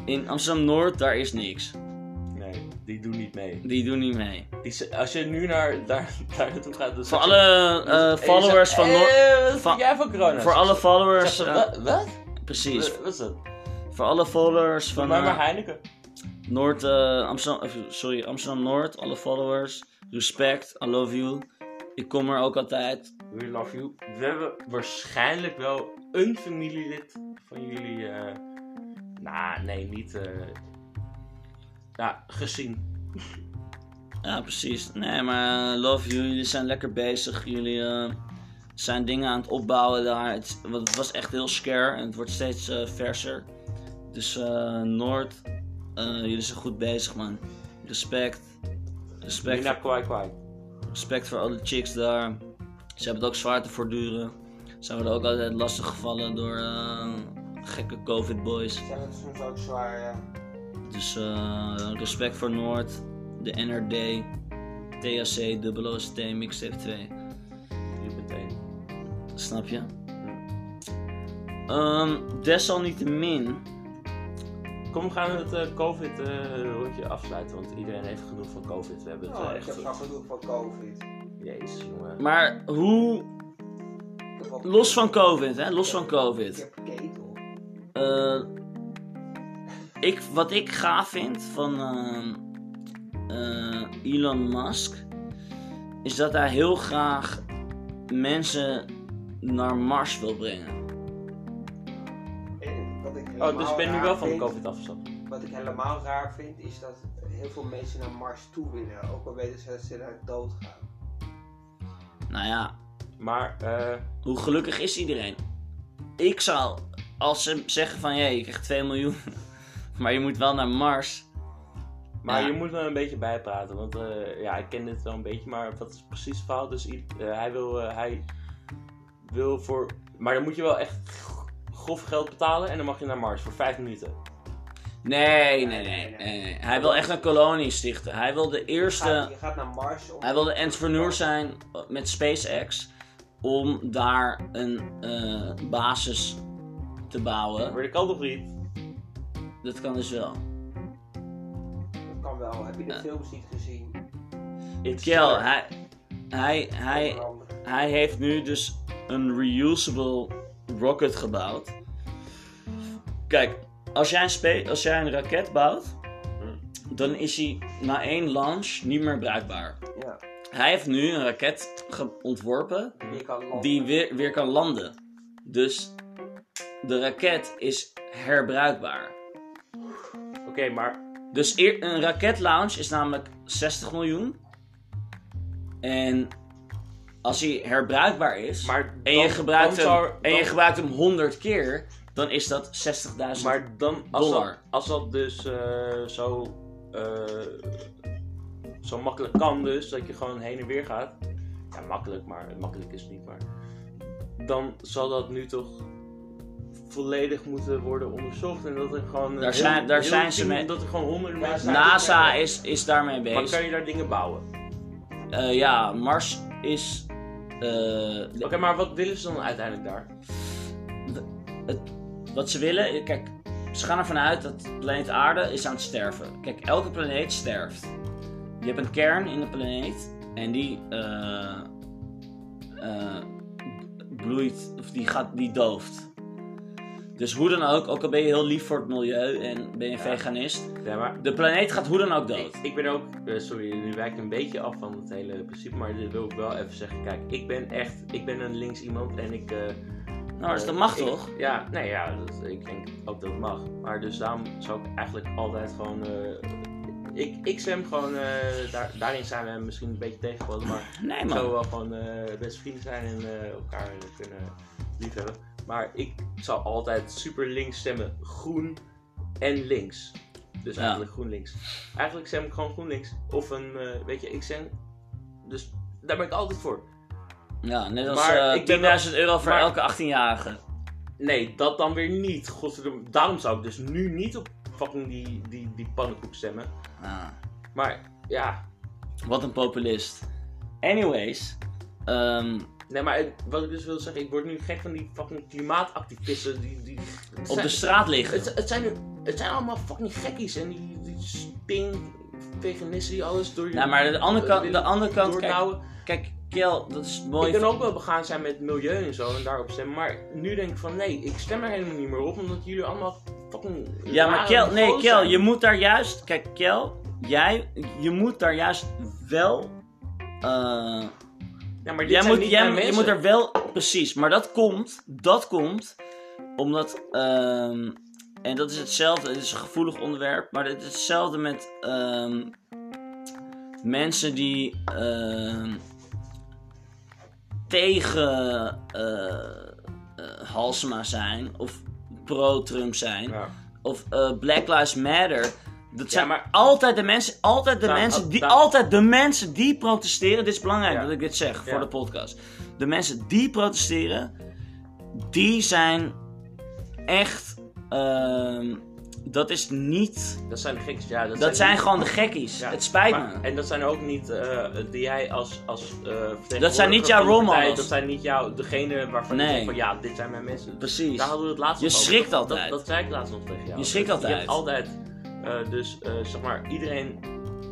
[SPEAKER 1] In Amsterdam-Noord, daar is niks.
[SPEAKER 2] Nee, die doen niet mee.
[SPEAKER 1] Die doen niet mee.
[SPEAKER 2] Die, z- als je nu naar, daar, daar naartoe gaat...
[SPEAKER 1] Voor
[SPEAKER 2] Dan zeg je-
[SPEAKER 1] alle
[SPEAKER 2] dan- en
[SPEAKER 1] eh,
[SPEAKER 2] je
[SPEAKER 1] followers
[SPEAKER 2] zegt,
[SPEAKER 1] van
[SPEAKER 2] "Eh,
[SPEAKER 1] Noord...
[SPEAKER 2] wat
[SPEAKER 1] van-
[SPEAKER 2] vind jij van corona?
[SPEAKER 1] Voor alle
[SPEAKER 2] Zegt
[SPEAKER 1] followers...
[SPEAKER 2] ze,
[SPEAKER 1] eh,
[SPEAKER 2] "Wat- Wat?
[SPEAKER 1] precies.
[SPEAKER 2] Wat is dat?
[SPEAKER 1] Voor alle followers
[SPEAKER 2] Doe
[SPEAKER 1] van
[SPEAKER 2] mij
[SPEAKER 1] eh,
[SPEAKER 2] maar Heineken.
[SPEAKER 1] Noord... eh, Amsterdam, eh, sorry, Amsterdam-Noord. Alle followers. Respect. I love you. Ik kom er ook altijd.
[SPEAKER 2] We love you. We hebben waarschijnlijk wel een familielid van jullie. eh, Nou, nee, niet. eh, ja, gezien.
[SPEAKER 1] Ja, precies. Nee, maar eh, love you. Jullie zijn lekker bezig. Jullie eh, zijn dingen aan het opbouwen daar. Het, want het was echt heel scare en het wordt steeds eh, verser. Dus eh, Noord, eh, jullie zijn goed bezig, man. Respect. Respect,
[SPEAKER 2] Mina kwaai kwaai.
[SPEAKER 1] respect voor alle chicks daar. Ze hebben het ook zwaar te voortduren. Ze worden ook altijd lastig gevallen door eh, gekke COVID-boys.
[SPEAKER 3] Ze hebben het soms ook zwaar, eh, ja.
[SPEAKER 1] Dus eh, respect voor Noord, de NRD, THC, OOST, Mixtape 2.
[SPEAKER 2] Je bent één.
[SPEAKER 1] Snap je? Ehm, desalniettemin.
[SPEAKER 2] Kom, we gaan het eh, COVID-rondje afsluiten. Want iedereen heeft genoeg van COVID. We hebben het eh,
[SPEAKER 3] Oh, ik heb
[SPEAKER 2] echt.
[SPEAKER 3] al genoeg van COVID.
[SPEAKER 2] Jezus, jongen.
[SPEAKER 1] Maar hoe.
[SPEAKER 3] Ik heb al-
[SPEAKER 1] Los van COVID, hè? Los van
[SPEAKER 3] Ik
[SPEAKER 1] COVID.
[SPEAKER 3] heb ketel.
[SPEAKER 1] Eh, ik, wat ik gaaf vind van ehm, eh, Elon Musk. Is dat hij heel graag mensen naar Mars wil brengen.
[SPEAKER 3] Ik
[SPEAKER 2] Oh, dus ik ben nu
[SPEAKER 3] raar
[SPEAKER 2] wel van
[SPEAKER 3] vind-
[SPEAKER 2] COVID afgestapt.
[SPEAKER 3] Wat ik helemaal raar vind, is dat heel veel mensen naar Mars toe willen. Ook al weten ze dat ze daar dood gaan.
[SPEAKER 1] Nou ja,
[SPEAKER 2] Maar, eh,
[SPEAKER 1] hoe gelukkig is iedereen? Ik zou, als ze zeggen van, hé, je krijgt 2 miljoen, maar je moet wel naar Mars.
[SPEAKER 2] maar
[SPEAKER 1] Ja.
[SPEAKER 2] je moet wel een beetje bijpraten, want eh, ja, ik ken dit wel een beetje, maar wat is precies het verhaal? Dus i- eh, hij wil, eh, hij wil voor, maar dan moet je wel echt g- grof geld betalen en dan mag je naar Mars voor 5 minuten.
[SPEAKER 1] Nee, nee, nee. nee, nee. Hij wil echt een kolonie stichten. Hij wil de
[SPEAKER 3] Je gaat,
[SPEAKER 1] eerste,
[SPEAKER 3] je gaat naar Mars om...
[SPEAKER 1] eh, hij wil de entrepreneur zijn met SpaceX om daar een eh, basis te bouwen.
[SPEAKER 2] Maar dat kan toch niet?
[SPEAKER 1] Dat kan dus wel.
[SPEAKER 3] Dat kan wel. Heb je de films niet gezien?
[SPEAKER 1] Kel, hij, hij, hij,
[SPEAKER 3] Onder andere.
[SPEAKER 1] hij heeft nu dus een reusable rocket gebouwd. Kijk, als jij een, spe- als jij een raket bouwt, dan is hij na één launch niet meer bruikbaar.
[SPEAKER 3] Ja.
[SPEAKER 1] Hij heeft nu een raket ge- ontworpen
[SPEAKER 3] Je kan landen.
[SPEAKER 1] die weer, weer kan landen. Dus de raket is herbruikbaar.
[SPEAKER 2] Oké, maar
[SPEAKER 1] Dus eer- een raketlaunch is namelijk 60 miljoen. En als hij herbruikbaar is
[SPEAKER 2] Maar
[SPEAKER 1] en, je
[SPEAKER 2] dan-
[SPEAKER 1] gebruikt hem,
[SPEAKER 2] dan zou-
[SPEAKER 1] en je
[SPEAKER 2] dan-
[SPEAKER 1] gebruikt hem 100 keer, dan is dat 60.000.
[SPEAKER 2] Maar dan, als, dat,
[SPEAKER 1] dollar.
[SPEAKER 2] als dat dus eh, zo, eh, zo makkelijk kan, dus dat je gewoon heen en weer gaat. Ja, makkelijk, maar makkelijk is het niet. Maar dan zal dat nu toch volledig moeten worden onderzocht. En dat er gewoon. een
[SPEAKER 1] Daar zijn- daar zijn ze
[SPEAKER 2] team-
[SPEAKER 1] mee.
[SPEAKER 2] Dat er gewoon honderden
[SPEAKER 3] Daar
[SPEAKER 2] mensen.
[SPEAKER 3] zijn-
[SPEAKER 1] NASA is, is daarmee bezig.
[SPEAKER 2] Maar kan je daar dingen bouwen? Oké,
[SPEAKER 1] Eh, ja, Mars is. eh,
[SPEAKER 2] maar wat willen ze dan uiteindelijk daar?
[SPEAKER 1] Wat ze willen, eh, kijk, ze gaan ervan uit dat de planeet Aarde is aan het sterven. Kijk, elke planeet sterft. Je hebt een kern in de planeet en die eh, eh, bloeit, of die, gaat, die dooft. Dus hoe dan ook, ook al ben je heel lief voor het milieu en ben je
[SPEAKER 2] Ja.
[SPEAKER 1] veganist,
[SPEAKER 2] Ja, maar
[SPEAKER 1] de planeet gaat hoe dan ook dood.
[SPEAKER 2] Ik, ik ben ook, eh, sorry, nu wijk ik een beetje af van het hele principe, maar dit wil ik wel even zeggen. Kijk, ik ben echt, ik ben een links iemand en ik... eh,
[SPEAKER 1] Nou, dus
[SPEAKER 2] eh,
[SPEAKER 1] dat mag
[SPEAKER 2] ik-
[SPEAKER 1] toch?
[SPEAKER 2] Ja, nee, ja, dat, ik denk ook dat het mag. Maar dus daarom zou ik eigenlijk altijd gewoon... eh, ik, ik zwem gewoon, eh, daar, daarin zijn we misschien een beetje tegengevallen, maar
[SPEAKER 1] Nee
[SPEAKER 2] ik
[SPEAKER 1] man.
[SPEAKER 2] zou wel gewoon eh, best vrienden zijn en eh, elkaar kunnen liefhebben. Maar ik zou altijd super links stemmen, groen en links. Dus
[SPEAKER 1] Ja.
[SPEAKER 2] eigenlijk GroenLinks. Eigenlijk stem ik gewoon GroenLinks. Of een, eh, weet je, ik stem... Dus daar ben ik altijd voor.
[SPEAKER 1] Ja, net als
[SPEAKER 2] Maar
[SPEAKER 1] eh,
[SPEAKER 2] ik ben wel-
[SPEAKER 1] 10.000 euro voor
[SPEAKER 2] maar-
[SPEAKER 1] elke 18-jarige.
[SPEAKER 2] Nee, dat dan weer niet. Godverdomme. Daarom zou ik dus nu niet op fucking die, die, die pannenkoek stemmen.
[SPEAKER 1] Ah.
[SPEAKER 2] Maar ja,
[SPEAKER 1] Wat een populist. Anyways, ehm,
[SPEAKER 2] nee, maar het- wat ik dus wil zeggen, ik word nu gek van die fucking klimaatactivisten. Die, die, het
[SPEAKER 1] op
[SPEAKER 2] zijn-
[SPEAKER 1] de straat liggen.
[SPEAKER 2] Het, het, zijn, het zijn allemaal fucking gekkies en die, die sting, veganisten die alles door je...
[SPEAKER 1] Nou, maar de andere kant,
[SPEAKER 2] eh,
[SPEAKER 1] de andere kant kijk,
[SPEAKER 2] doornauwen.
[SPEAKER 1] kijk, Kel, dat is
[SPEAKER 2] Ik
[SPEAKER 1] mooi.
[SPEAKER 2] kan ook wel begaan zijn met milieu en zo en daarop stemmen, maar nu denk ik van nee, ik stem er helemaal niet meer op omdat jullie allemaal fucking.
[SPEAKER 1] Ja, maar
[SPEAKER 2] rare
[SPEAKER 1] Kel, nee,
[SPEAKER 2] niveaus
[SPEAKER 1] Kel,
[SPEAKER 2] zijn.
[SPEAKER 1] je moet daar juist, kijk, Kel, jij, je moet daar juist wel, eh,
[SPEAKER 2] Ja, maar dit
[SPEAKER 1] jij
[SPEAKER 2] zijn
[SPEAKER 1] moet,
[SPEAKER 2] niet
[SPEAKER 1] jij,
[SPEAKER 2] mijn
[SPEAKER 1] moet- je
[SPEAKER 2] mensen.
[SPEAKER 1] moet er wel, precies, maar dat komt, dat komt, omdat, ehm, en dat is hetzelfde, het is een gevoelig onderwerp, maar het is hetzelfde met ehm, mensen die ehm, tegen eh, eh, Halsema zijn of pro-Trump zijn
[SPEAKER 2] Ja.
[SPEAKER 1] of eh, Black Lives Matter. Dat zijn
[SPEAKER 2] maar- Nou,
[SPEAKER 1] altijd de mensen, altijd de
[SPEAKER 2] Daar-
[SPEAKER 1] mensen,
[SPEAKER 2] al-
[SPEAKER 1] die,
[SPEAKER 2] daar-
[SPEAKER 1] altijd de mensen die protesteren. Dit is belangrijk
[SPEAKER 2] Ja.
[SPEAKER 1] dat ik dit zeg
[SPEAKER 2] Ja.
[SPEAKER 1] voor de podcast. De mensen die protesteren, die zijn echt. ehm, dat is niet.
[SPEAKER 2] Dat zijn de gekkies, ja. Dat,
[SPEAKER 1] Dat zijn
[SPEAKER 2] niet-
[SPEAKER 1] gewoon de gekkies.
[SPEAKER 2] Ja,
[SPEAKER 1] Het spijt
[SPEAKER 2] maar-
[SPEAKER 1] me.
[SPEAKER 2] En dat zijn ook niet eh, die jij als, als eh, vertegenwoordiger
[SPEAKER 1] Dat zijn niet jouw
[SPEAKER 2] van die
[SPEAKER 1] role
[SPEAKER 2] partij,
[SPEAKER 1] models.
[SPEAKER 2] Dat zijn niet jouw, degene waarvan je
[SPEAKER 1] Nee.
[SPEAKER 2] denkt van ja, dit zijn mijn mensen.
[SPEAKER 1] Precies.
[SPEAKER 2] Daar hadden we het laatst
[SPEAKER 1] Je
[SPEAKER 2] nog over.
[SPEAKER 1] schrikt
[SPEAKER 2] Dat-
[SPEAKER 1] altijd.
[SPEAKER 2] Dat, dat zei ik laatst nog tegen jou.
[SPEAKER 1] Je schrikt
[SPEAKER 2] Dat- Je
[SPEAKER 1] altijd.
[SPEAKER 2] hebt altijd, eh, dus eh, zeg maar, iedereen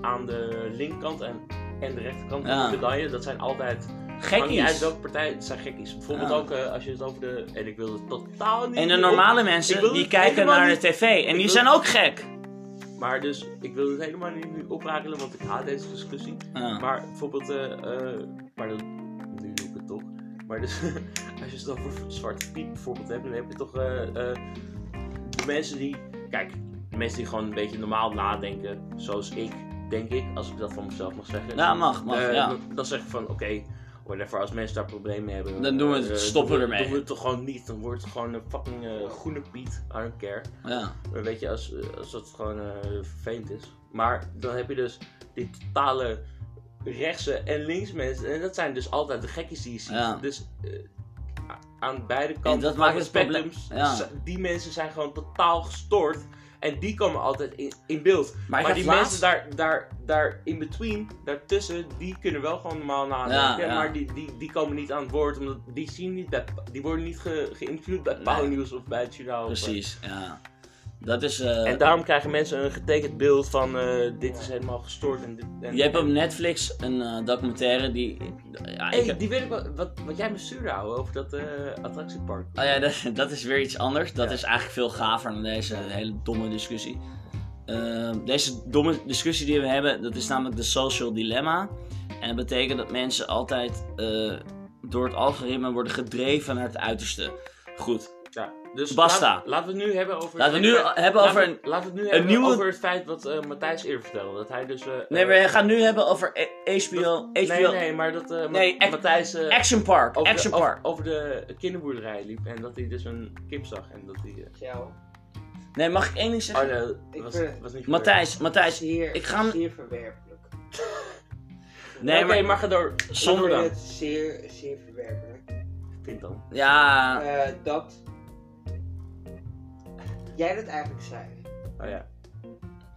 [SPEAKER 2] aan de linkerkant en, en de rechterkant
[SPEAKER 1] Ja.
[SPEAKER 2] van de medaille, dat zijn altijd... Maakt niet uit
[SPEAKER 1] Gekkies.
[SPEAKER 2] welke partij, het zijn gekkies. Bijvoorbeeld
[SPEAKER 1] Ja.
[SPEAKER 2] ook eh, als je het over de... En ik wil het totaal niet...
[SPEAKER 1] En de
[SPEAKER 2] op-
[SPEAKER 1] normale
[SPEAKER 2] Ik wil
[SPEAKER 1] mensen die
[SPEAKER 2] het
[SPEAKER 1] kijken
[SPEAKER 2] helemaal
[SPEAKER 1] naar de
[SPEAKER 2] niet-
[SPEAKER 1] tv en die
[SPEAKER 2] wil-
[SPEAKER 1] zijn ook gek.
[SPEAKER 2] Maar dus, ik wil het helemaal niet nu oprakelen, want ik haat deze discussie.
[SPEAKER 1] Ja.
[SPEAKER 2] Maar bijvoorbeeld, eh, eh, maar dat, nu doe ik het toch. Maar dus, als je het over Zwarte Piet bijvoorbeeld hebt, dan heb je toch eh, eh, de mensen die, kijk, de mensen die gewoon een beetje normaal nadenken, zoals ik, denk ik, als ik dat van mezelf mag zeggen.
[SPEAKER 1] Ja, mag, mag,
[SPEAKER 2] Eh,
[SPEAKER 1] ja.
[SPEAKER 2] dan, dan zeg je van, oké, whatever, als mensen daar problemen mee hebben...
[SPEAKER 1] Dan doen we het,
[SPEAKER 2] eh,
[SPEAKER 1] stoppen
[SPEAKER 2] doen we-
[SPEAKER 1] ermee.
[SPEAKER 2] Doen we het toch gewoon niet, dan wordt het gewoon een fucking eh, groene piet, I don't care.
[SPEAKER 1] Ja.
[SPEAKER 2] Maar weet je, als, eh, als dat gewoon eh, vervelend is. Maar dan heb je dus die totale rechtse en links mensen. En dat zijn dus altijd de gekkies die je ziet.
[SPEAKER 1] Ja.
[SPEAKER 2] Dus eh, a- aan beide kanten
[SPEAKER 1] dat
[SPEAKER 2] van
[SPEAKER 1] maakt
[SPEAKER 2] de
[SPEAKER 1] het probleem-
[SPEAKER 2] spectrums,
[SPEAKER 1] ja.
[SPEAKER 2] z- die mensen zijn gewoon totaal gestoord. En die komen altijd in, in beeld.
[SPEAKER 1] Maar
[SPEAKER 2] Maar,
[SPEAKER 1] ik had
[SPEAKER 2] die
[SPEAKER 1] laatst-
[SPEAKER 2] mensen daar, daar, daar in between, daartussen, die kunnen wel gewoon normaal nadenken.
[SPEAKER 1] Ja, ja.
[SPEAKER 2] Maar die, die, die komen niet aan het woord, omdat die, zien niet bij, die worden niet ge, geïnterviewd bij
[SPEAKER 1] Nee.
[SPEAKER 2] Pauw Nieuws of bij het journaal. of, eh,
[SPEAKER 1] Precies, ja. Dat is... eh,
[SPEAKER 2] en daarom krijgen mensen een getekend beeld van eh, dit is helemaal gestoord en dit. En,
[SPEAKER 1] je hebt op Netflix een eh, documentaire die... Ja,
[SPEAKER 2] Hey,
[SPEAKER 1] ik heb-
[SPEAKER 2] die weet ik wel, wat, wat jij me stuurde ouwe, over dat eh, attractiepark.
[SPEAKER 1] Oh ja, dat, dat is weer iets anders. Dat
[SPEAKER 2] Ja.
[SPEAKER 1] is eigenlijk veel gaver dan deze hele domme discussie. Ehm, deze domme discussie die we hebben, dat is namelijk de social dilemma. En dat betekent dat mensen altijd eh, door het algoritme worden gedreven naar het uiterste. Goed,
[SPEAKER 2] Ja, dus
[SPEAKER 1] Basta.
[SPEAKER 2] laat- laten we het nu hebben over.
[SPEAKER 1] laten we
[SPEAKER 2] het
[SPEAKER 1] nu
[SPEAKER 2] feit-
[SPEAKER 1] hebben
[SPEAKER 2] laten
[SPEAKER 1] over
[SPEAKER 2] we-
[SPEAKER 1] een...
[SPEAKER 2] Laten we het nu hebben
[SPEAKER 1] nieuwe-
[SPEAKER 2] over het feit wat eh, Matthijs eerder vertelde. Dat hij dus. eh,
[SPEAKER 1] Nee,
[SPEAKER 2] eh,
[SPEAKER 1] we gaan het nu hebben over e- HBO...
[SPEAKER 2] nee,
[SPEAKER 1] HBO
[SPEAKER 2] nee, maar dat eh, Ma-
[SPEAKER 1] Nee, echt-
[SPEAKER 2] Matthijs. eh,
[SPEAKER 1] Action Park,
[SPEAKER 2] over,
[SPEAKER 1] Action
[SPEAKER 2] de, over-
[SPEAKER 1] Park.
[SPEAKER 2] over de kinderboerderij liep en dat hij dus een kip zag. En dat hij. eh,
[SPEAKER 3] Jou.
[SPEAKER 1] Nee, mag ik één ding
[SPEAKER 2] oh
[SPEAKER 1] zeggen?
[SPEAKER 2] nee, dat
[SPEAKER 3] Ik
[SPEAKER 2] was,
[SPEAKER 3] vind-
[SPEAKER 2] was niet goed.
[SPEAKER 1] Matthijs, Matthijs.
[SPEAKER 3] Zeer,
[SPEAKER 1] ik ga hem-
[SPEAKER 3] zeer verwerpelijk.
[SPEAKER 1] Nee,
[SPEAKER 2] Oké,
[SPEAKER 1] maar...
[SPEAKER 2] maar ga door.
[SPEAKER 1] Zonder
[SPEAKER 2] Ga
[SPEAKER 3] Ik
[SPEAKER 2] door
[SPEAKER 3] vind
[SPEAKER 2] dan.
[SPEAKER 3] het zeer, zeer verwerpelijk.
[SPEAKER 2] Vind dan.
[SPEAKER 1] Ja...
[SPEAKER 3] Eh, dat... Jij dat eigenlijk zei.
[SPEAKER 2] Oh ja.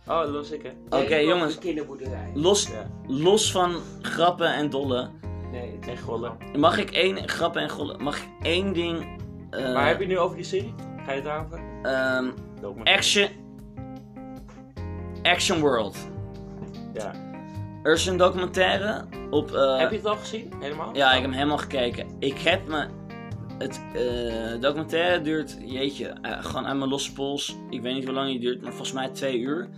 [SPEAKER 2] Oh, dat was ik hè.
[SPEAKER 1] Oké,
[SPEAKER 3] Jij liep
[SPEAKER 1] jongens.
[SPEAKER 3] op de kinderboerderij.
[SPEAKER 1] Los,
[SPEAKER 2] Ja.
[SPEAKER 1] los van grappen en dollen...
[SPEAKER 3] Nee, het
[SPEAKER 2] En
[SPEAKER 3] is
[SPEAKER 2] gollen.
[SPEAKER 1] Mag ik één grap en gollen? Mag ik één ding? eh,
[SPEAKER 2] Maar heb je het nu over die serie? Ga je het daarover?
[SPEAKER 1] ehm,
[SPEAKER 2] Doe maar.
[SPEAKER 1] action. Action World.
[SPEAKER 2] Ja.
[SPEAKER 1] Er is een documentaire op. eh,
[SPEAKER 2] heb je het al gezien? Helemaal?
[SPEAKER 1] Ja, ik heb hem helemaal gekeken. Ik heb me. Het eh, documentaire duurt, jeetje, eh, gewoon aan mijn losse pols. Ik weet niet hoe lang die duurt, maar volgens mij twee uur.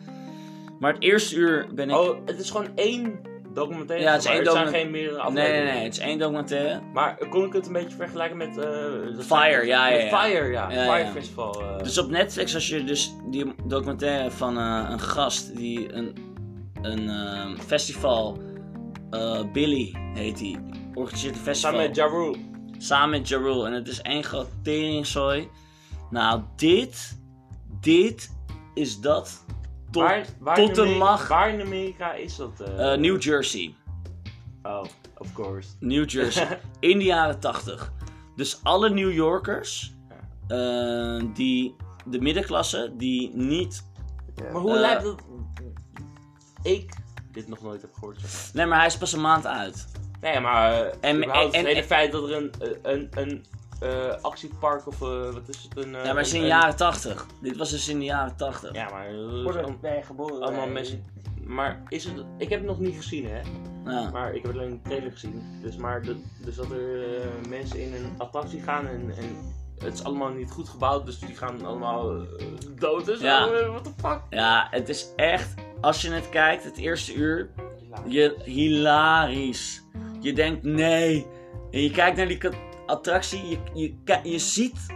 [SPEAKER 1] Maar het eerste uur ben ik.
[SPEAKER 2] Oh, het is gewoon één documentaire.
[SPEAKER 1] Ja, het is
[SPEAKER 2] maar
[SPEAKER 1] één
[SPEAKER 2] er zijn
[SPEAKER 1] document-
[SPEAKER 2] geen meerdere
[SPEAKER 1] nee,
[SPEAKER 2] afleveringen.
[SPEAKER 1] nee, nee, het is één documentaire.
[SPEAKER 2] Maar eh, kon ik het een beetje vergelijken met... eh, dat-
[SPEAKER 1] Fire, ja, ja,
[SPEAKER 2] met
[SPEAKER 1] ja.
[SPEAKER 2] Fire, ja.
[SPEAKER 1] Ja,
[SPEAKER 2] Fire
[SPEAKER 1] ja.
[SPEAKER 2] Festival. eh.
[SPEAKER 1] Dus op Netflix, als je dus die documentaire van eh, een gast die een, een ehm, festival, eh, Billy heet die, organiseert een festival
[SPEAKER 2] samen met Ja Rule.
[SPEAKER 1] samen met Ja Rule. En het is één groot teringzooi. Nou, dit, dit is dat tot,
[SPEAKER 2] Waar, waar
[SPEAKER 1] tot
[SPEAKER 2] in
[SPEAKER 1] de
[SPEAKER 2] Amerika,
[SPEAKER 1] lach.
[SPEAKER 2] Waar in Amerika is dat? eh?
[SPEAKER 1] Eh, New Jersey.
[SPEAKER 2] Oh, of course.
[SPEAKER 1] New Jersey. in de jaren 80. Dus alle New Yorkers, eh, die, de middenklasse, die niet
[SPEAKER 2] Maar hoe
[SPEAKER 1] Eh,
[SPEAKER 2] lijkt dat... Ik dit nog nooit heb gehoord. zeg maar.
[SPEAKER 1] Nee, maar hij is pas een maand uit.
[SPEAKER 2] Nee, maar eh
[SPEAKER 1] En-
[SPEAKER 2] überhaupt
[SPEAKER 1] en-
[SPEAKER 2] het hele
[SPEAKER 1] en-
[SPEAKER 2] feit dat er een, een, een, eh, actiepark of eh, wat is het? Een, eh,
[SPEAKER 1] Ja, maar het is in
[SPEAKER 2] een-
[SPEAKER 1] de
[SPEAKER 2] een-
[SPEAKER 1] jaren 80. Dit was dus in de jaren 80.
[SPEAKER 2] Ja, maar eh,
[SPEAKER 3] Worden
[SPEAKER 2] allemaal-
[SPEAKER 3] wij geboren.
[SPEAKER 2] allemaal
[SPEAKER 3] wij-
[SPEAKER 2] mensen. Maar is het... Ik heb het nog niet gezien, hè?
[SPEAKER 1] Ja.
[SPEAKER 2] Maar ik heb alleen een trailer gezien. Dus, maar dat, dus dat er eh, mensen in een attractie gaan en, en het is allemaal niet goed gebouwd, dus die gaan allemaal eh, dood en zo.
[SPEAKER 1] Ja.
[SPEAKER 2] eh, what the fuck?
[SPEAKER 1] Ja, het is echt, als je het kijkt, het eerste uur, je, hilarisch. Je denkt nee. En je kijkt naar die kat- attractie, je, je, ki- je ziet